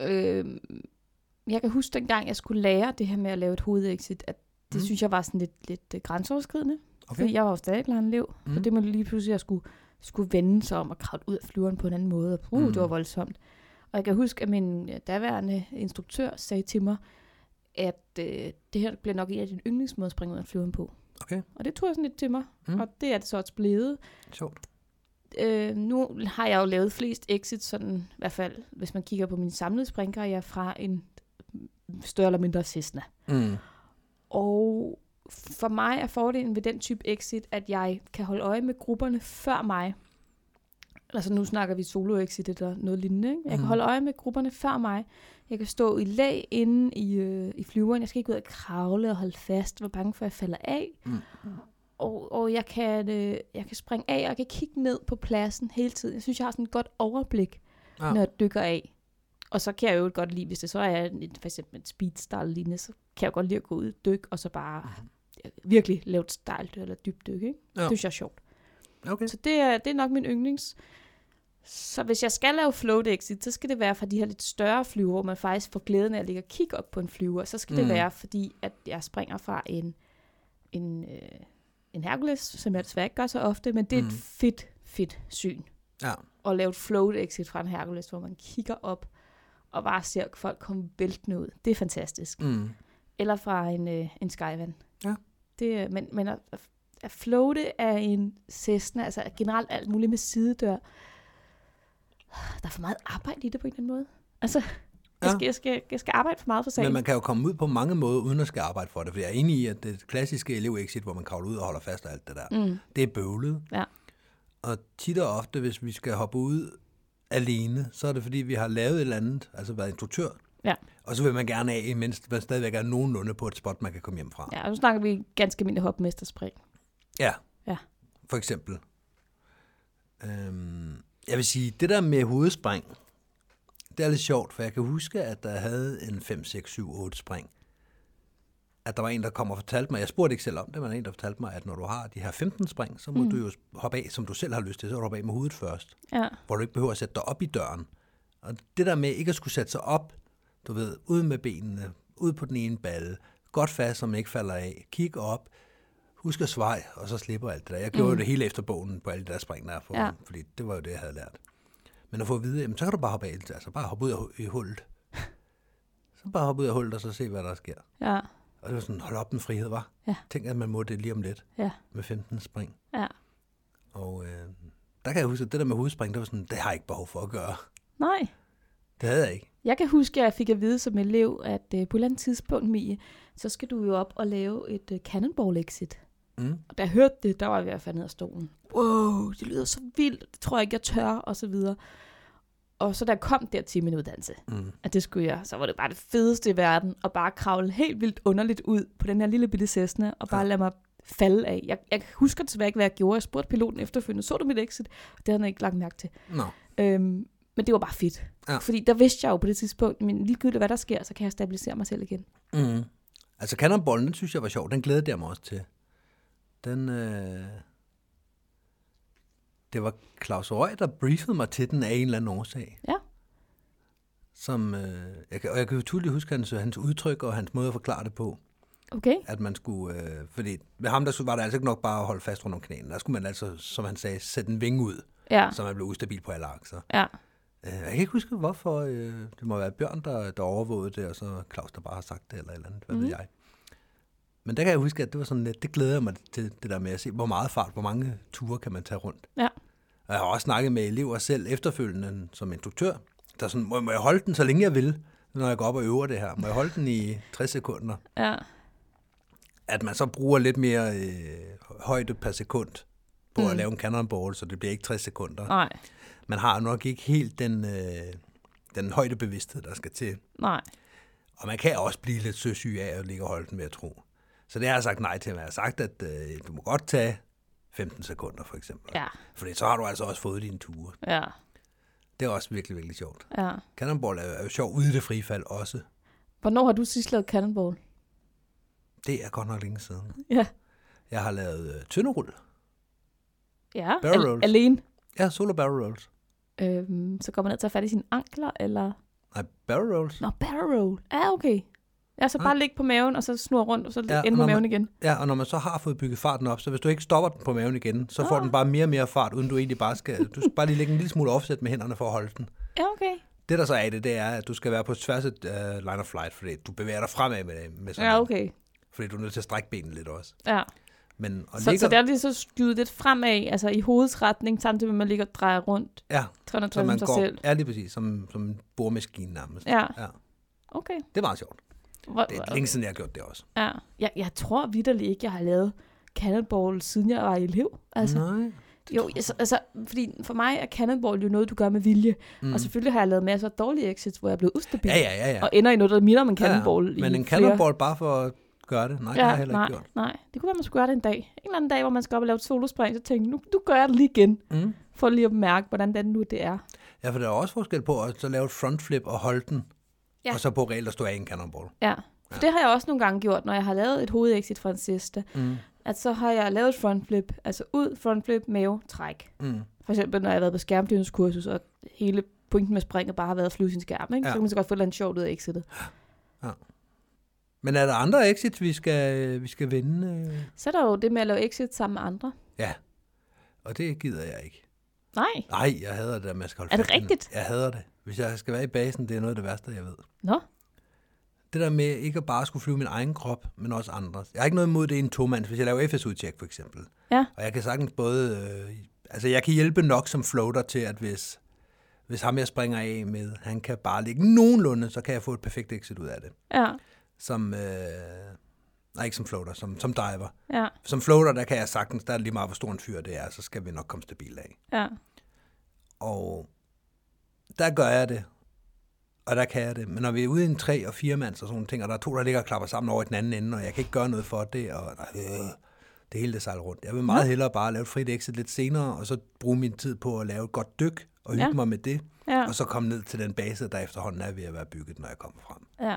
Øh, jeg kan huske dengang, jeg skulle lære det her med at lave et hovedexit, at det
Mm.
mm. synes jeg var sådan lidt, lidt øh, grænseoverskridende. Okay. Fordi
Okay.
jeg var jo stadig klar en elev, mm. så
Mm.
det måtte lige pludselig, at jeg skulle, skulle vende sig om og kravle ud af flyveren på en anden måde. Og uh, mm.
Mm.
det var voldsomt. Og jeg kan huske, at min øh, daværende instruktør sagde til mig, at øh, det her bliver nok en af dine yndlingsmåder at springe ud af flyveren på.
Okay.
Og det tog jeg sådan lidt til mig,
Mm.
mm. og det er det så også blevet.
Sjovt.
Øh, nu har jeg jo lavet flest exits, sådan, i hvert fald hvis man kigger på min samlede springkarriere, fra en større eller mindre Cessna.
Mm.
Og for mig er fordelen ved den type exit, at jeg kan holde øje med grupperne før mig. Altså nu snakker vi solo-exit eller noget lignende. Ikke? Jeg kan
Mhm.
holde øje med grupperne før mig. Jeg kan stå i lag inde i, øh, i flyveren. Jeg skal ikke ud og kravle og holde fast. Hvor bange for, at jeg falder af.
Mm.
Og, og jeg, kan, øh, jeg kan springe af, og jeg kan kigge ned på pladsen hele tiden. Jeg synes, jeg har sådan et godt overblik
Ja.
når jeg dykker af. Og så kan jeg jo godt lide, hvis det så er en, for eksempel en speedstyle lignende, så kan jeg godt lide at gå ud og dykke, og så bare mm. virkelig lave et stejlt eller dybt dyk, ikke?
Mhm. Ja.
Det synes jeg er sjovt.
Okay.
Så det er, det er nok min yndlings. Så hvis jeg skal lave float exit, så skal det være fra de her lidt større flyver, hvor man faktisk får glæden af at ligge og kigge op på en flyver. Så skal mm. det
Mm.
være, fordi at jeg springer fra en, en, øh, en Hercules, som jeg desværre ikke gør så ofte, men det er mm.
Mm.
et fedt, fedt syn
Ja.
og lave et float exit fra en Hercules, hvor man kigger op og bare ser folk komme væltende ud. Det er fantastisk.
Mm.
Eller fra en, øh, en Skyvan.
Ja.
Det, er- men, men at, at floate af en Cessna, altså generelt alt muligt med sidedør, der er for meget arbejde i det på en eller anden måde. Altså, jeg,
Ja.
skal, jeg, skal, jeg skal arbejde for meget for sagen.
Men man kan jo komme ud på mange måder, uden at skal arbejde for det. For jeg er enig i, at det klassiske elevexit, hvor man kravler ud og holder fast og alt det der, mm. det er bøvlet.
Ja.
Og tit og ofte, hvis vi skal hoppe ud alene, så er det fordi, vi har lavet et eller andet, altså været instruktør,
Ja.
og så vil man gerne af, mens man stadigvæk er nogenlunde på et spot, man kan komme hjem fra.
ja, og nu snakker vi ganske mindre hopmesterspring.
Ja,
Ja.
for eksempel. Øhm, jeg vil sige, det der med hovedspring, det er lidt sjovt, for jeg kan huske, at der havde en 5, 6, 7, 8 spring. At der var en, der kom og fortalte mig, jeg spurgte ikke selv om det, men der var en, der fortalte mig, at når du har de her 15 spring, så må mm. du jo hoppe af, som du selv har lyst til, så må du hoppe af med hovedet først
Ja.
hvor du ikke behøver at sætte dig op i døren. Og det der med ikke at skulle sætte sig op, du ved, ud med benene, ud på den ene balle, godt fast, så man ikke falder af, kig op, husk at svej, og så slipper alt det der. Jeg gjorde mm. jo det hele efter bogen på alle de der spring, der er på,
Ja.
ja. fordi det var jo det, jeg havde lært. Men at få at vide, jamen, så kan du bare hoppe af, altså bare hoppe ud af hu- i hullet. Så bare hoppe ud af hullet, og så se, hvad der sker.
Ja.
Og det var sådan, hold op en frihed, var.
Ja.
Tænk, at man må det lige om lidt
Ja.
med 15 spring.
Ja.
Og øh, der kan jeg huske, at det der med hovedspring, det var sådan, det har jeg ikke behov for at gøre.
Nej.
Det havde jeg ikke.
Jeg kan huske, at jeg fik at vide som elev, at øh, på et eller andet tidspunkt, Mie, så skal du jo op og lave et øh, cannonball exit.
Mm.
Og da jeg hørte det, der var jeg ved at falde ned af stolen. Wow, det lyder så vildt, det tror jeg ikke, jeg tør, og så videre. Og så da jeg kom der til min uddannelse,
Mm.
at det skulle jeg, så var det bare det fedeste i verden, at bare kravle helt vildt underligt ud på den her lille bitte Cessna, og bare
Ja.
lade mig falde af. Jeg, jeg husker desværre ikke, hvad jeg gjorde. Jeg spurgte piloten efterfølgende, så du mit exit? Det havde han ikke lagt mærke til.
Nå.
Øhm, men det var bare fedt.
Ja.
Fordi der vidste jeg jo på det tidspunkt, men ligegyldigt hvad der sker, så kan jeg stabilisere mig selv igen.
Mm. Altså, cannonballen, den synes jeg var sjov. Den glædede jeg mig også til. Den, øh... Det var Claus Røg, der briefede mig til den af en eller anden årsag.
Ja.
Som, øh... jeg kan, og jeg kan jo tydeligt huske hans, hans udtryk og hans måde at forklare det på.
Okay?
At man skulle, øh... fordi med ham der skulle, var det altså ikke nok bare at holde fast rundt om knæene. Der skulle man altså, som han sagde, sætte en vinge ud,
Ja.
så man blev ustabil på alle akser.
Ja.
Øh, Jeg kan ikke huske, hvorfor. øh, Det må være Bjørn, der, der overvågede det, og så Claus, der bare har sagt det, eller et eller andet. Hvad mm. ved jeg. Men der kan jeg huske, at det var sådan lidt, det glæder jeg mig til, det der med at se, hvor meget fart, hvor mange ture kan man tage rundt.
Ja.
Og jeg har også snakket med elever selv efterfølgende som instruktør, der er sådan, må, må jeg holde den, så længe jeg vil, når jeg går op og øver det her? Må jeg holde den i 60 sekunder?
Ja.
At man så bruger lidt mere øh, højde per sekund på mm. at lave en cannonball, så det bliver ikke 60 sekunder
Nej.
man har nok ikke helt den, øh, den højdebevidsthed, der skal til.
Nej.
Og man kan også blive lidt søsyg af at ligge og holde den ved at tro. Så det har jeg sagt nej til. men Jeg har sagt, at øh, du må godt tage 15 sekunder, for eksempel.
Ja.
Fordi så har du altså også fået dine ture.
Ja.
Det er også virkelig, virkelig sjovt.
Ja.
Cannonball er jo- er jo sjov ude i det frifald også.
Hvornår har du sidst lavet cannonball?
Det er godt nok længe siden.
Ja.
Jeg har lavet øh, tynderul.
Ja.
Barrel
Al-
rolls.
alene.
Ja, solo barrel rolls.
Øhm, så går man ned og tager fat i sine ankler, eller...
Nej, barrel rolls.
Nå, barrel roll. Ja, okay. Ja, så
Ja.
bare ligge på maven, og så snurre rundt, og så
Ja,
ja, ind på
og når man-
maven igen.
Ja, og når man så har fået bygget farten op, så hvis du ikke stopper den på maven igen, så får
Ah.
den bare mere og mere fart, uden du egentlig bare skal... Du skal bare lige lægge en lille smule offset med hænderne for at holde den.
Ja, okay.
Det, der så er i det, det er, at du skal være på tværs af uh, line of flight, fordi du bevæger dig fremad med, med sådan
Ja,
en,
okay.
Fordi du er nødt til at strække benene lidt også.
Ja.
Men, og
Så,
ligger,
så der er lige så skyde lidt fremad, altså i hovedets retning, samtidig med, at man ligger og drejer rundt
Ja,
360
så man
sig
går...
selv.
Ja, lige præcis. Som, som en boremaskine nærmest.
Ja,
ja.
okay.
Det er meget sjovt.
Hvor,
Det er længe siden, jeg har gjort det også.
ja. jeg, jeg tror vidderligt ikke, jeg har lavet cannonball, siden jeg var elev. Altså,
Nej.
jo, altså, altså, fordi for mig er cannonball jo noget, du gør med vilje. Mm. Og selvfølgelig har jeg lavet masser af dårlige exits, hvor jeg er blevet ustabil.
Ja, ja, ja. ja.
Og ender i noget, der minder om en cannonball.
ja, ja. Men
i
en
flere-
cannonball bare for at gøre det? Nej, ja, det har jeg heller
nej,
ikke gjort.
nej. Det kunne være, man skulle gøre det en dag. En eller anden dag, hvor man skal op og lave et solospring, så tænke, nu, nu gør jeg det lige igen.
Mm.
For lige at mærke, hvordan det nu det er.
Ja, for der er også forskel på at så lave et frontflip og holde den,
Ja.
ja. og så på reelt at stå af i en cannonball.
Ja, for det har jeg også nogle gange gjort, når jeg har lavet et hovedexit fra en sister.
Mm.
At så har jeg lavet et frontflip, altså ud, frontflip, mave, træk.
Mm.
For eksempel, når jeg har været på skærmdyrningskursus, og hele pointen med springet bare har været at flyve sin skærm, ikke? Ja.
Ja.
så kan man så godt få et eller andet sjovt ud af exitet.
Men er der andre exits, vi skal, vi skal vinde? øh?
Så er der jo det med at lave exit sammen med andre.
Ja, og det gider jeg ikke.
Nej,
Nej, jeg hader det, at man skal holde
Er det
fast i den.
rigtigt?
Jeg hader det. Hvis jeg skal være i basen, det er noget af det værste, jeg ved.
nå,
Det der med ikke at bare skulle flyve min egen krop, men også andres. Jeg har ikke noget imod det i en tomands, hvis jeg laver FS-udtjek for eksempel.
ja,
Og jeg kan sagtens både... Øh, altså, jeg kan hjælpe nok som floater til, at hvis, hvis ham jeg springer af med, han kan bare ligge nogenlunde, så kan jeg få et perfekt exit ud af det.
Ja,
Som, øh, nej ikke som floater, som, som diver.
ja,
Som floater, der kan jeg sagtens, der er det lige meget, hvor stor en fyr det er, så skal vi nok komme stabil af.
ja,
Og der gør jeg det, og der kan jeg det. Men når vi er ude i en tre- og firemands og sådan nogle ting, og der er to, der ligger og klapper sammen over i den anden ende, og jeg kan ikke gøre noget for det, og nej, øh, det hele det sejler rundt. Jeg vil meget hellere bare lave et frit exit lidt senere, og så bruge min tid på at lave et godt dyk, og hygge
Ja.
ja. mig med det,
ja,
og så komme ned til den base, der efterhånden er ved at være bygget, når jeg kommer frem.
ja.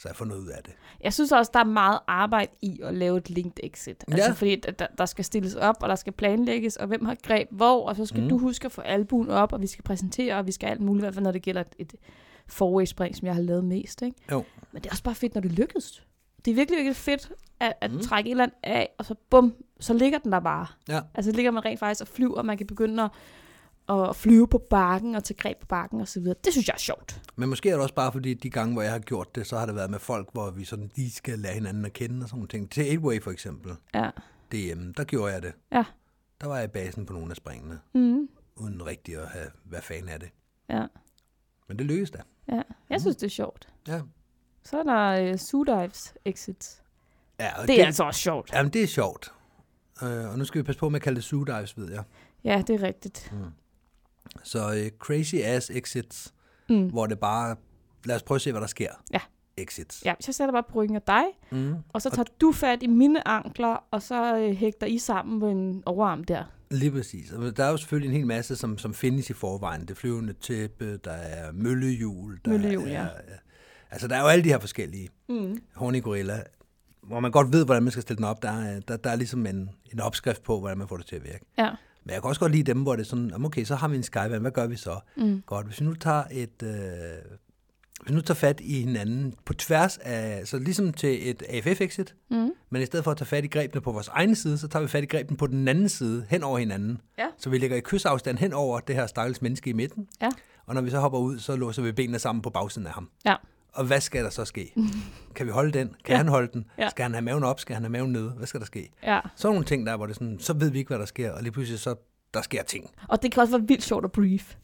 Så jeg får noget ud af det.
Jeg synes også, der er meget arbejde i at lave et linked exit. Altså,
Ja.
fordi at der, der skal stilles op, og der skal planlægges, og hvem har greb hvor, og så
Mhm.
skal mm. du huske at få albuen op, og vi skal præsentere, og vi skal alt muligt, i hvert fald når det gælder et, et forway-spring, som jeg har lavet mest. Ikke?
Jo.
Men det er også bare fedt, når det lykkes. Det er virkelig, virkelig fedt at, at
Mhm.
mm. trække et eller andet af, og så bum, så ligger den der bare.
Ja.
Altså så ligger man rent faktisk og flyver, og man kan begynde at, at flyve på bakken og tage greb på bakken osv. Det synes jeg er sjovt.
Men måske er det også bare fordi, de gange, hvor jeg har gjort det, så har det været med folk, hvor vi sådan lige skal lære hinanden at kende og sådan nogle ting. Til 8-way for eksempel,
Ja.
DM, der gjorde jeg det.
Ja.
Der var jeg i basen på nogle af springene,
Mm.
uden rigtig at have, hvad fanden er det.
ja.
Men det lykkedes da.
Ja.
Mhm.
Jeg synes, det er sjovt.
Ja.
Så er der øh, Zoo Dives exits.
ja og
Det er altså også sjovt.
Jamen, det er sjovt. Øh, og nu skal vi passe på med at kalde det zoo dives, ved jeg.
Ja, det er rigtigt.
Mm. Så øh, crazy ass exits,
Mm.
hvor det bare, lad os prøve at se, hvad der sker.
Ja.
Exits.
Ja, så sætter jeg bare bryggen af dig,
Mm.
og så tager du fat i mine ankler, og så øh, hægter I sammen med en overarm der.
Lige præcis. Og der er jo selvfølgelig en hel masse, som, som findes i forvejen. Det flyvende tæppe, der er møllehjul. Der
Møllehjul, ja.
er, Altså, der er jo alle de her forskellige. Mm. Horny gorilla, hvor man godt ved, hvordan man skal stille den op. Der er, der, der er ligesom en, en opskrift på, hvordan man får det til at virke.
Ja.
Men jeg kan også godt lide dem, hvor det er sådan, "Jamen, okay, så har vi en skyvand, hvad gør vi så? Mm. Godt, hvis vi nu tager et... Øh, hvis vi nu tager fat i hinanden på tværs af, så ligesom til et AFF-exit, mm. men i stedet for at tage fat i grebene på vores egen side, så tager vi fat i grebene på den anden side, hen over hinanden.
Ja.
Så vi ligger i kysafstand hen over det her stakkels menneske i midten,
Ja.
og når vi så hopper ud, så låser vi benene sammen på bagsiden af ham.
Ja.
Og hvad skal der så ske? Kan vi holde den? Kan ja. han holde den?
Ja.
Ja. Skal han have maven op? Skal han have maven nede? Hvad skal der ske?
Ja.
Sådan nogle ting der, hvor det er sådan, så ved vi ikke, hvad der sker, og lige pludselig så der sker ting.
Og det kan også være vildt sjovt at brief.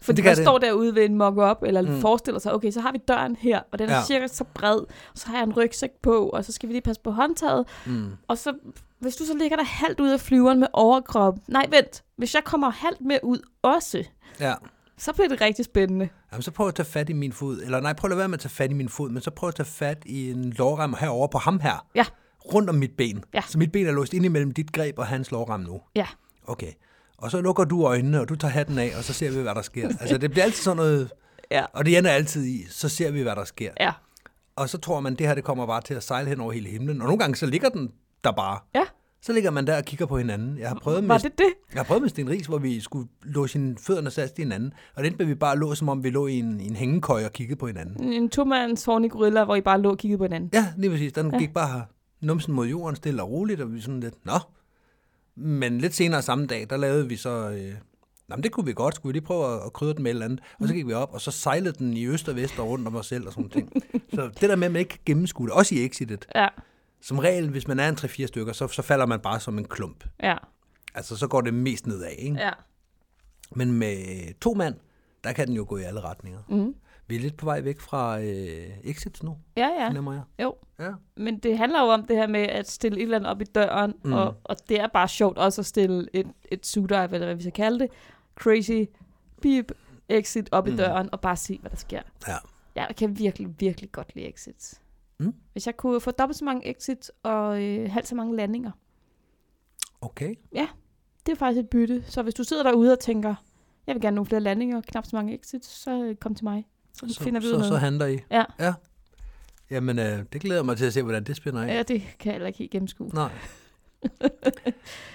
Fordi
Det
det
kan
man
det.
står derude ved en mock-up, eller mm. forestiller sig, okay, så har vi døren her, og den er ja.
Ja.
cirka så bred, og så har jeg en rygsæk på, og så skal vi lige passe på håndtaget,
Mm.
og så, hvis du så ligger der halvt ud af flyveren med overkrop, nej vent, hvis jeg kommer halvt med ud også,
Ja.
så bliver det rigtig spændende.
Jamen, så prøv at tage fat i min fod. Eller nej, prøv at lade være med at tage fat i min fod, men så prøv at tage fat i en lårrem herover på ham her.
Ja.
Rundt om mit ben.
Ja.
Så mit ben er låst ind imellem dit greb og hans lårrem nu.
Ja,
Okay. Og så lukker du øjnene, og du tager hatten af, og så ser vi, hvad der sker. altså, det bliver altid sådan noget...
Ja.
Og det ender altid i, så ser vi, hvad der sker.
ja,
Og så tror man, det her det kommer bare til at sejle hen over hele himlen. Og nogle gange, så ligger den der bare.
ja.
Så ligger man der og kigger på hinanden. Jeg har prøvet
Var
med,
det det?
jeg har prøvet med Sten Ries, hvor vi skulle låse sine fødderne fast i hinanden. Og den blev vi bare lå, som om vi lå i en, i en hængekøj og kiggede på hinanden.
En tomands horny gorilla, hvor I bare lå og kiggede på hinanden.
Ja, lige præcis. Den ja. gik bare numsen mod jorden, stille og roligt, og vi sådan lidt, nå. Men lidt senere samme dag, der lavede vi så, øh, jamen det kunne vi godt, skulle vi lige prøve at, at krydre den med et eller andet. Og så gik vi op, og så sejlede den i øst og vest og rundt om os selv og sådan nogle ting. så det der med, at man ikke kan gennemskue det, også i exitet.
Ja,
Som regel, hvis man er en 3-4 stykker, så, så falder man bare som en klump.
ja,
Altså, så går det mest nedad, ikke?
ja.
Men med to mand, der kan den jo gå i alle retninger.
Mhm.
Mm. Vi er lidt på vej væk fra øh, exits nu,
Ja, ja.
fornemmer jeg.
Jo,
Ja.
Men det handler jo om det her med at stille et eller andet op i døren, mm. og, og det er bare sjovt også at stille et, et sudive, eller hvad vi skal kalde det, crazy beep exit op mm. i døren, og bare se, hvad der sker.
ja.
Jeg kan virkelig, virkelig godt lide exits.
Mm.
Hvis jeg kunne få dobbelt så mange exits og øh, halvt så mange landinger,
Okay.
det er faktisk et bytte. Så hvis du sidder derude og tænker, jeg vil gerne nogle flere landinger, knap så mange exits, så øh, kom til mig. Så, så finder vi ud
så,
af
så
noget.
handler I.
Ja.
ja. Jamen, øh, det glæder jeg mig til at se, hvordan det spænder af.
Ja, det kan jeg heller ikke helt gennemskue.
Nej.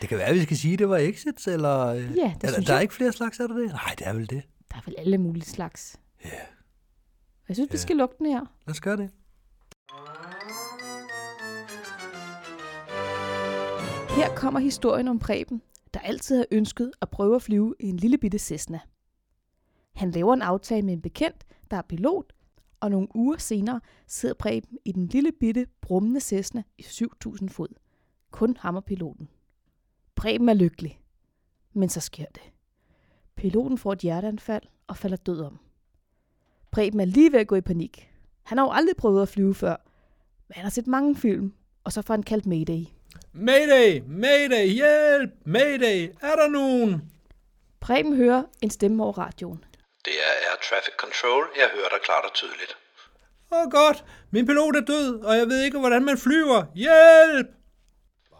det kan være, at vi skal sige, at det var exits, eller... øh,
Ja, det
er, der,
synes
der er
jeg.
ikke flere slags, er der det? Nej, det er vel det.
Der er vel alle mulige slags.
Ja.
Jeg synes, vi
Ja.
skal lukke den her.
Lad os gøre det.
Her kommer historien om Preben, der altid har ønsket at prøve at flyve i en lille bitte Cessna. Han laver en aftale med en bekendt, der er pilot, og nogle uger senere sidder Preben i den lille bitte brummende Cessna i 7000 fod. Kun ham og piloten. Preben er lykkelig. Men så sker det. Piloten får et hjerteanfald og falder død om. Preben er lige ved at gå i panik. Han har jo aldrig prøvet at flyve før, men han har set mange film, og så får han kaldt Mayday.
Mayday! Mayday! Hjælp! Mayday! Er der nogen?
Preben hører en stemme over radioen.
Det er Air Traffic Control. Jeg hører dig klart og tydeligt.
Åh oh, godt, min pilot er død, og jeg ved ikke, hvordan man flyver. Hjælp!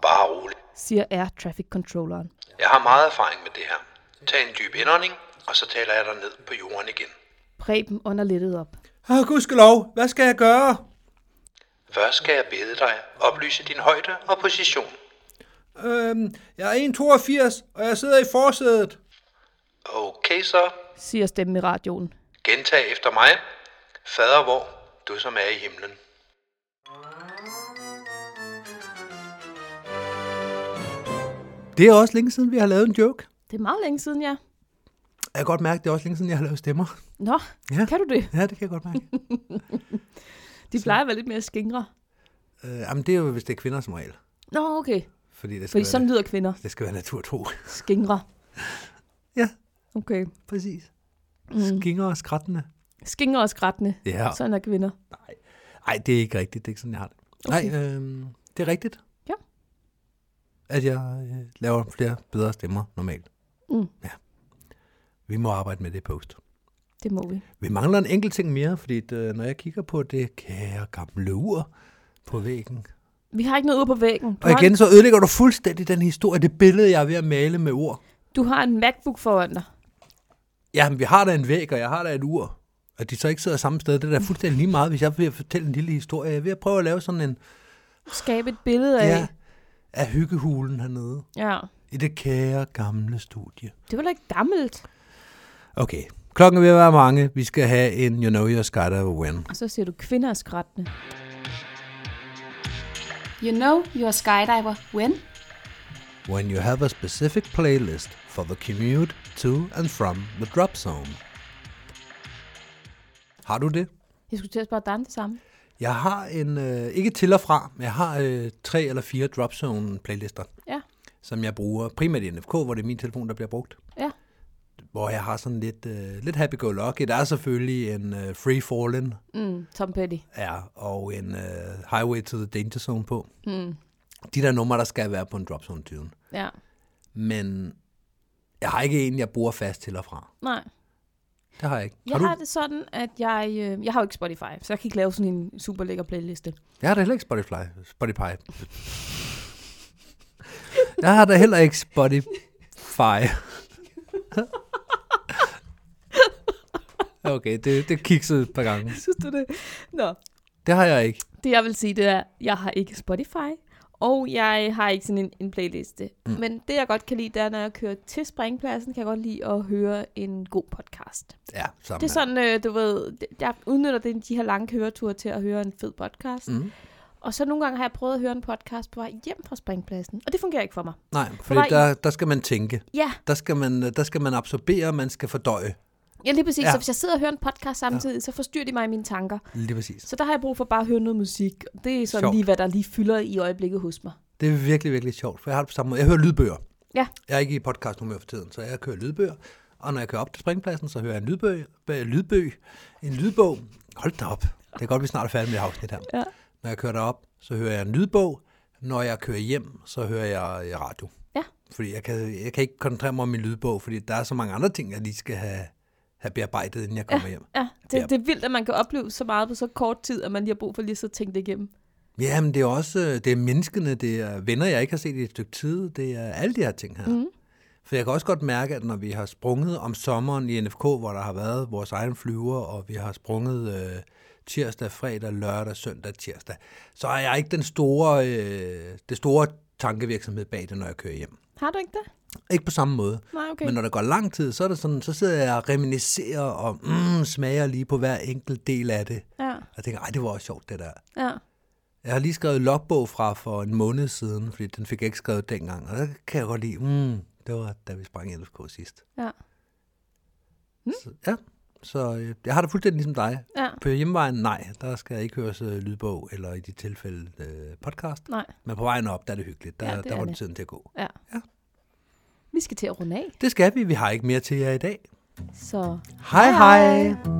Bare rolig.
siger Air Traffic Controlleren.
Jeg har meget erfaring med det her. Tag en dyb indånding, og så taler jeg dig ned på jorden igen.
Preben ånder lettet op.
Åh, oh, gudskelov, hvad skal jeg gøre?
Først skal jeg bede dig oplyse din højde og position.
Øhm, jeg er 1,82, og jeg sidder i forsædet.
Okay så.
siger stemmen i radioen.
Gentag efter mig. Fader hvor, du som er i himlen.
Det er også længe siden, vi har lavet en joke.
Det er meget længe siden, ja.
Jeg kan godt mærke, det er også længe siden, jeg har lavet stemmer.
Nå,
Ja.
ja. kan du det?
Ja, det kan jeg godt mærke.
De plejer at være lidt mere skingre.
øh, jamen, det er jo, hvis det er kvinder som regel.
Nå, okay.
Fordi det skal,
Fordi
være,
sådan lyder kvinder.
det skal være naturtro.
Skingre.
ja,
Okay.
præcis. Mm. Skinger og skrattende.
Skingre og skrættende.
Ja.
Sådan er kvinder.
Nej. Nej, det er ikke rigtigt. Det er ikke sådan, jeg har det. Okay. Nej, øh, det er rigtigt.
Ja.
At jeg øh, laver flere bedre stemmer normalt.
Mm.
Ja. Vi må arbejde med det i post.
Det må vi.
Vi mangler en enkelt ting mere, fordi det, når jeg kigger på det kære gamle ur på væggen.
Vi har ikke noget ude på væggen. Du,
Og
har, en,
igen, så ødelægger du fuldstændig den historie, det billede, jeg er ved at male med ur.
du har en MacBook foran dig.
Jamen, vi har da en væg, og jeg har da et ur. At de så ikke sidder samme sted, det er da fuldstændig lige meget, hvis jeg vil fortælle en lille historie. Jeg er ved at prøve at lave sådan en
Skabe et billede af.
ja, af hyggehulen hernede.
ja.
I det kære gamle studie.
Det var da ikke gammelt.
Okay, klokken er ved at være mange. Vi skal have en You Know Your Skydiver Win.
Og så siger du kvinder er skrættende. You know you're a skydiver when?
When you have a specific playlist for the commute to and from the drop zone. Har du det?
Jeg skulle til at spørge dig om det samme.
Jeg har en, øh, ikke til og fra, men jeg har øh, tre eller fire drop zone playlister,
Ja.
som jeg bruger primært i NFK, hvor det er min telefon, der bliver brugt.
Ja.
Hvor jeg har sådan lidt, øh, lidt happy-go-lucky. Der er selvfølgelig en øh, Free Fallen,
Mm, Tom Petty.
Ja, og en øh, Highway to the Danger Zone på. Mm. De der numre, der skal være på en drop zone tune.
Ja.
Men jeg har ikke en, jeg bruger fast til og fra.
Nej.
Det har jeg ikke.
Jeg
har du?
har det sådan, at jeg... Øh, jeg har jo ikke Spotify, så jeg kan ikke lave sådan en super lækker playliste.
Jeg har da heller ikke Spotify. Spotify. jeg har da heller ikke Spotify. okay, det, det kiksede et par gange.
Synes du det? Nå.
Det har jeg ikke.
Det jeg vil sige, det er, at jeg har ikke Spotify, og jeg har ikke sådan en, en playliste. Mm. Men det jeg godt kan lide, det er, når jeg kører til springpladsen, kan jeg godt lide at høre en god podcast.
Ja, sammen
Det er sådan, øh, du ved, det- jeg udnytter det, de her lange køreture til at høre en fed podcast.
Mm.
Og så nogle gange har jeg prøvet at høre en podcast på vej hjem fra springpladsen, og det fungerer ikke for mig.
Nej, fordi
var i-
der, der skal man tænke.
Ja,
Der skal man, der skal man absorbere, man skal fordøje.
ja lige præcis.
Ja.
Ja. Så hvis jeg sidder og hører en podcast samtidig, ja. så forstyrrer de mig i mine tanker.
Lige præcis.
Så der har jeg brug for bare at høre noget musik. Det er sådan
Sjovt.
lige, hvad der lige fylder i øjeblikket hos mig.
Det er virkelig, virkelig sjovt, for jeg har det på samme måde. Jeg hører lydbøger.
Ja,
Jeg er ikke i podcast humør for tiden, så jeg kører lydbøger. Og når jeg kører op til springpladsen, så hører jeg en lydbøg, bø- lydbøg, en lydbog. Hold da op. Det er godt, vi snart er færdige med det her afsnit her. Ja. Når jeg kører derop, så hører jeg en lydbog. Når jeg kører hjem, så hører jeg øh, radio.
ja,
Fordi jeg kan, jeg kan ikke koncentrere mig om min lydbog, fordi der er så mange andre ting, jeg lige skal have, have bearbejdet, inden jeg kommer hjem.
ja.
Ja.
Det, det er vildt, at man kan opleve så meget på så kort tid, at man lige har brug for lige at sidde og tænke det igennem.
Ja, men det er også øh, det er menneskene, det er venner, jeg ikke har set i et stykke tid, det er alle de her ting her. Mm. For jeg kan også godt mærke, at når vi har sprunget om sommeren i NFK, hvor der har været vores egen flyver, og vi har sprunget øh, tirsdag, fredag, lørdag, søndag, tirsdag, så er jeg ikke den store, øh, det store tankevirksomhed bag det, når jeg kører hjem.
Har du ikke det?
Ikke på samme måde.
Nej, okay.
Men når der går lang tid, så er det sådan, så sidder jeg og reminiscerer og mm, smager lige på hver enkelt del af det.
Ja,
Og tænker, ej, det var også sjovt, det der.
ja.
Jeg har lige skrevet logbog fra for en måned siden, fordi den fik jeg ikke skrevet dengang. Og der kan jeg godt lide, mm, det var da vi sprang i LFK sidst.
Ja.
Så, ja, så øh, jeg har det fuldstændig ligesom dig.
Ja.
På hjemvejen, nej, der skal jeg ikke høre så lydbog, eller i de tilfælde øh, podcast.
Nej.
Men på vejen op, der er det hyggeligt. Der,
Ja,
ja,
det
der
er
var
det.
tiden til at gå.
Ja.
Ja.
Vi skal til at runde af,
Det skal vi. Vi har ikke mere til jer i dag.
så
Hej hej! hej.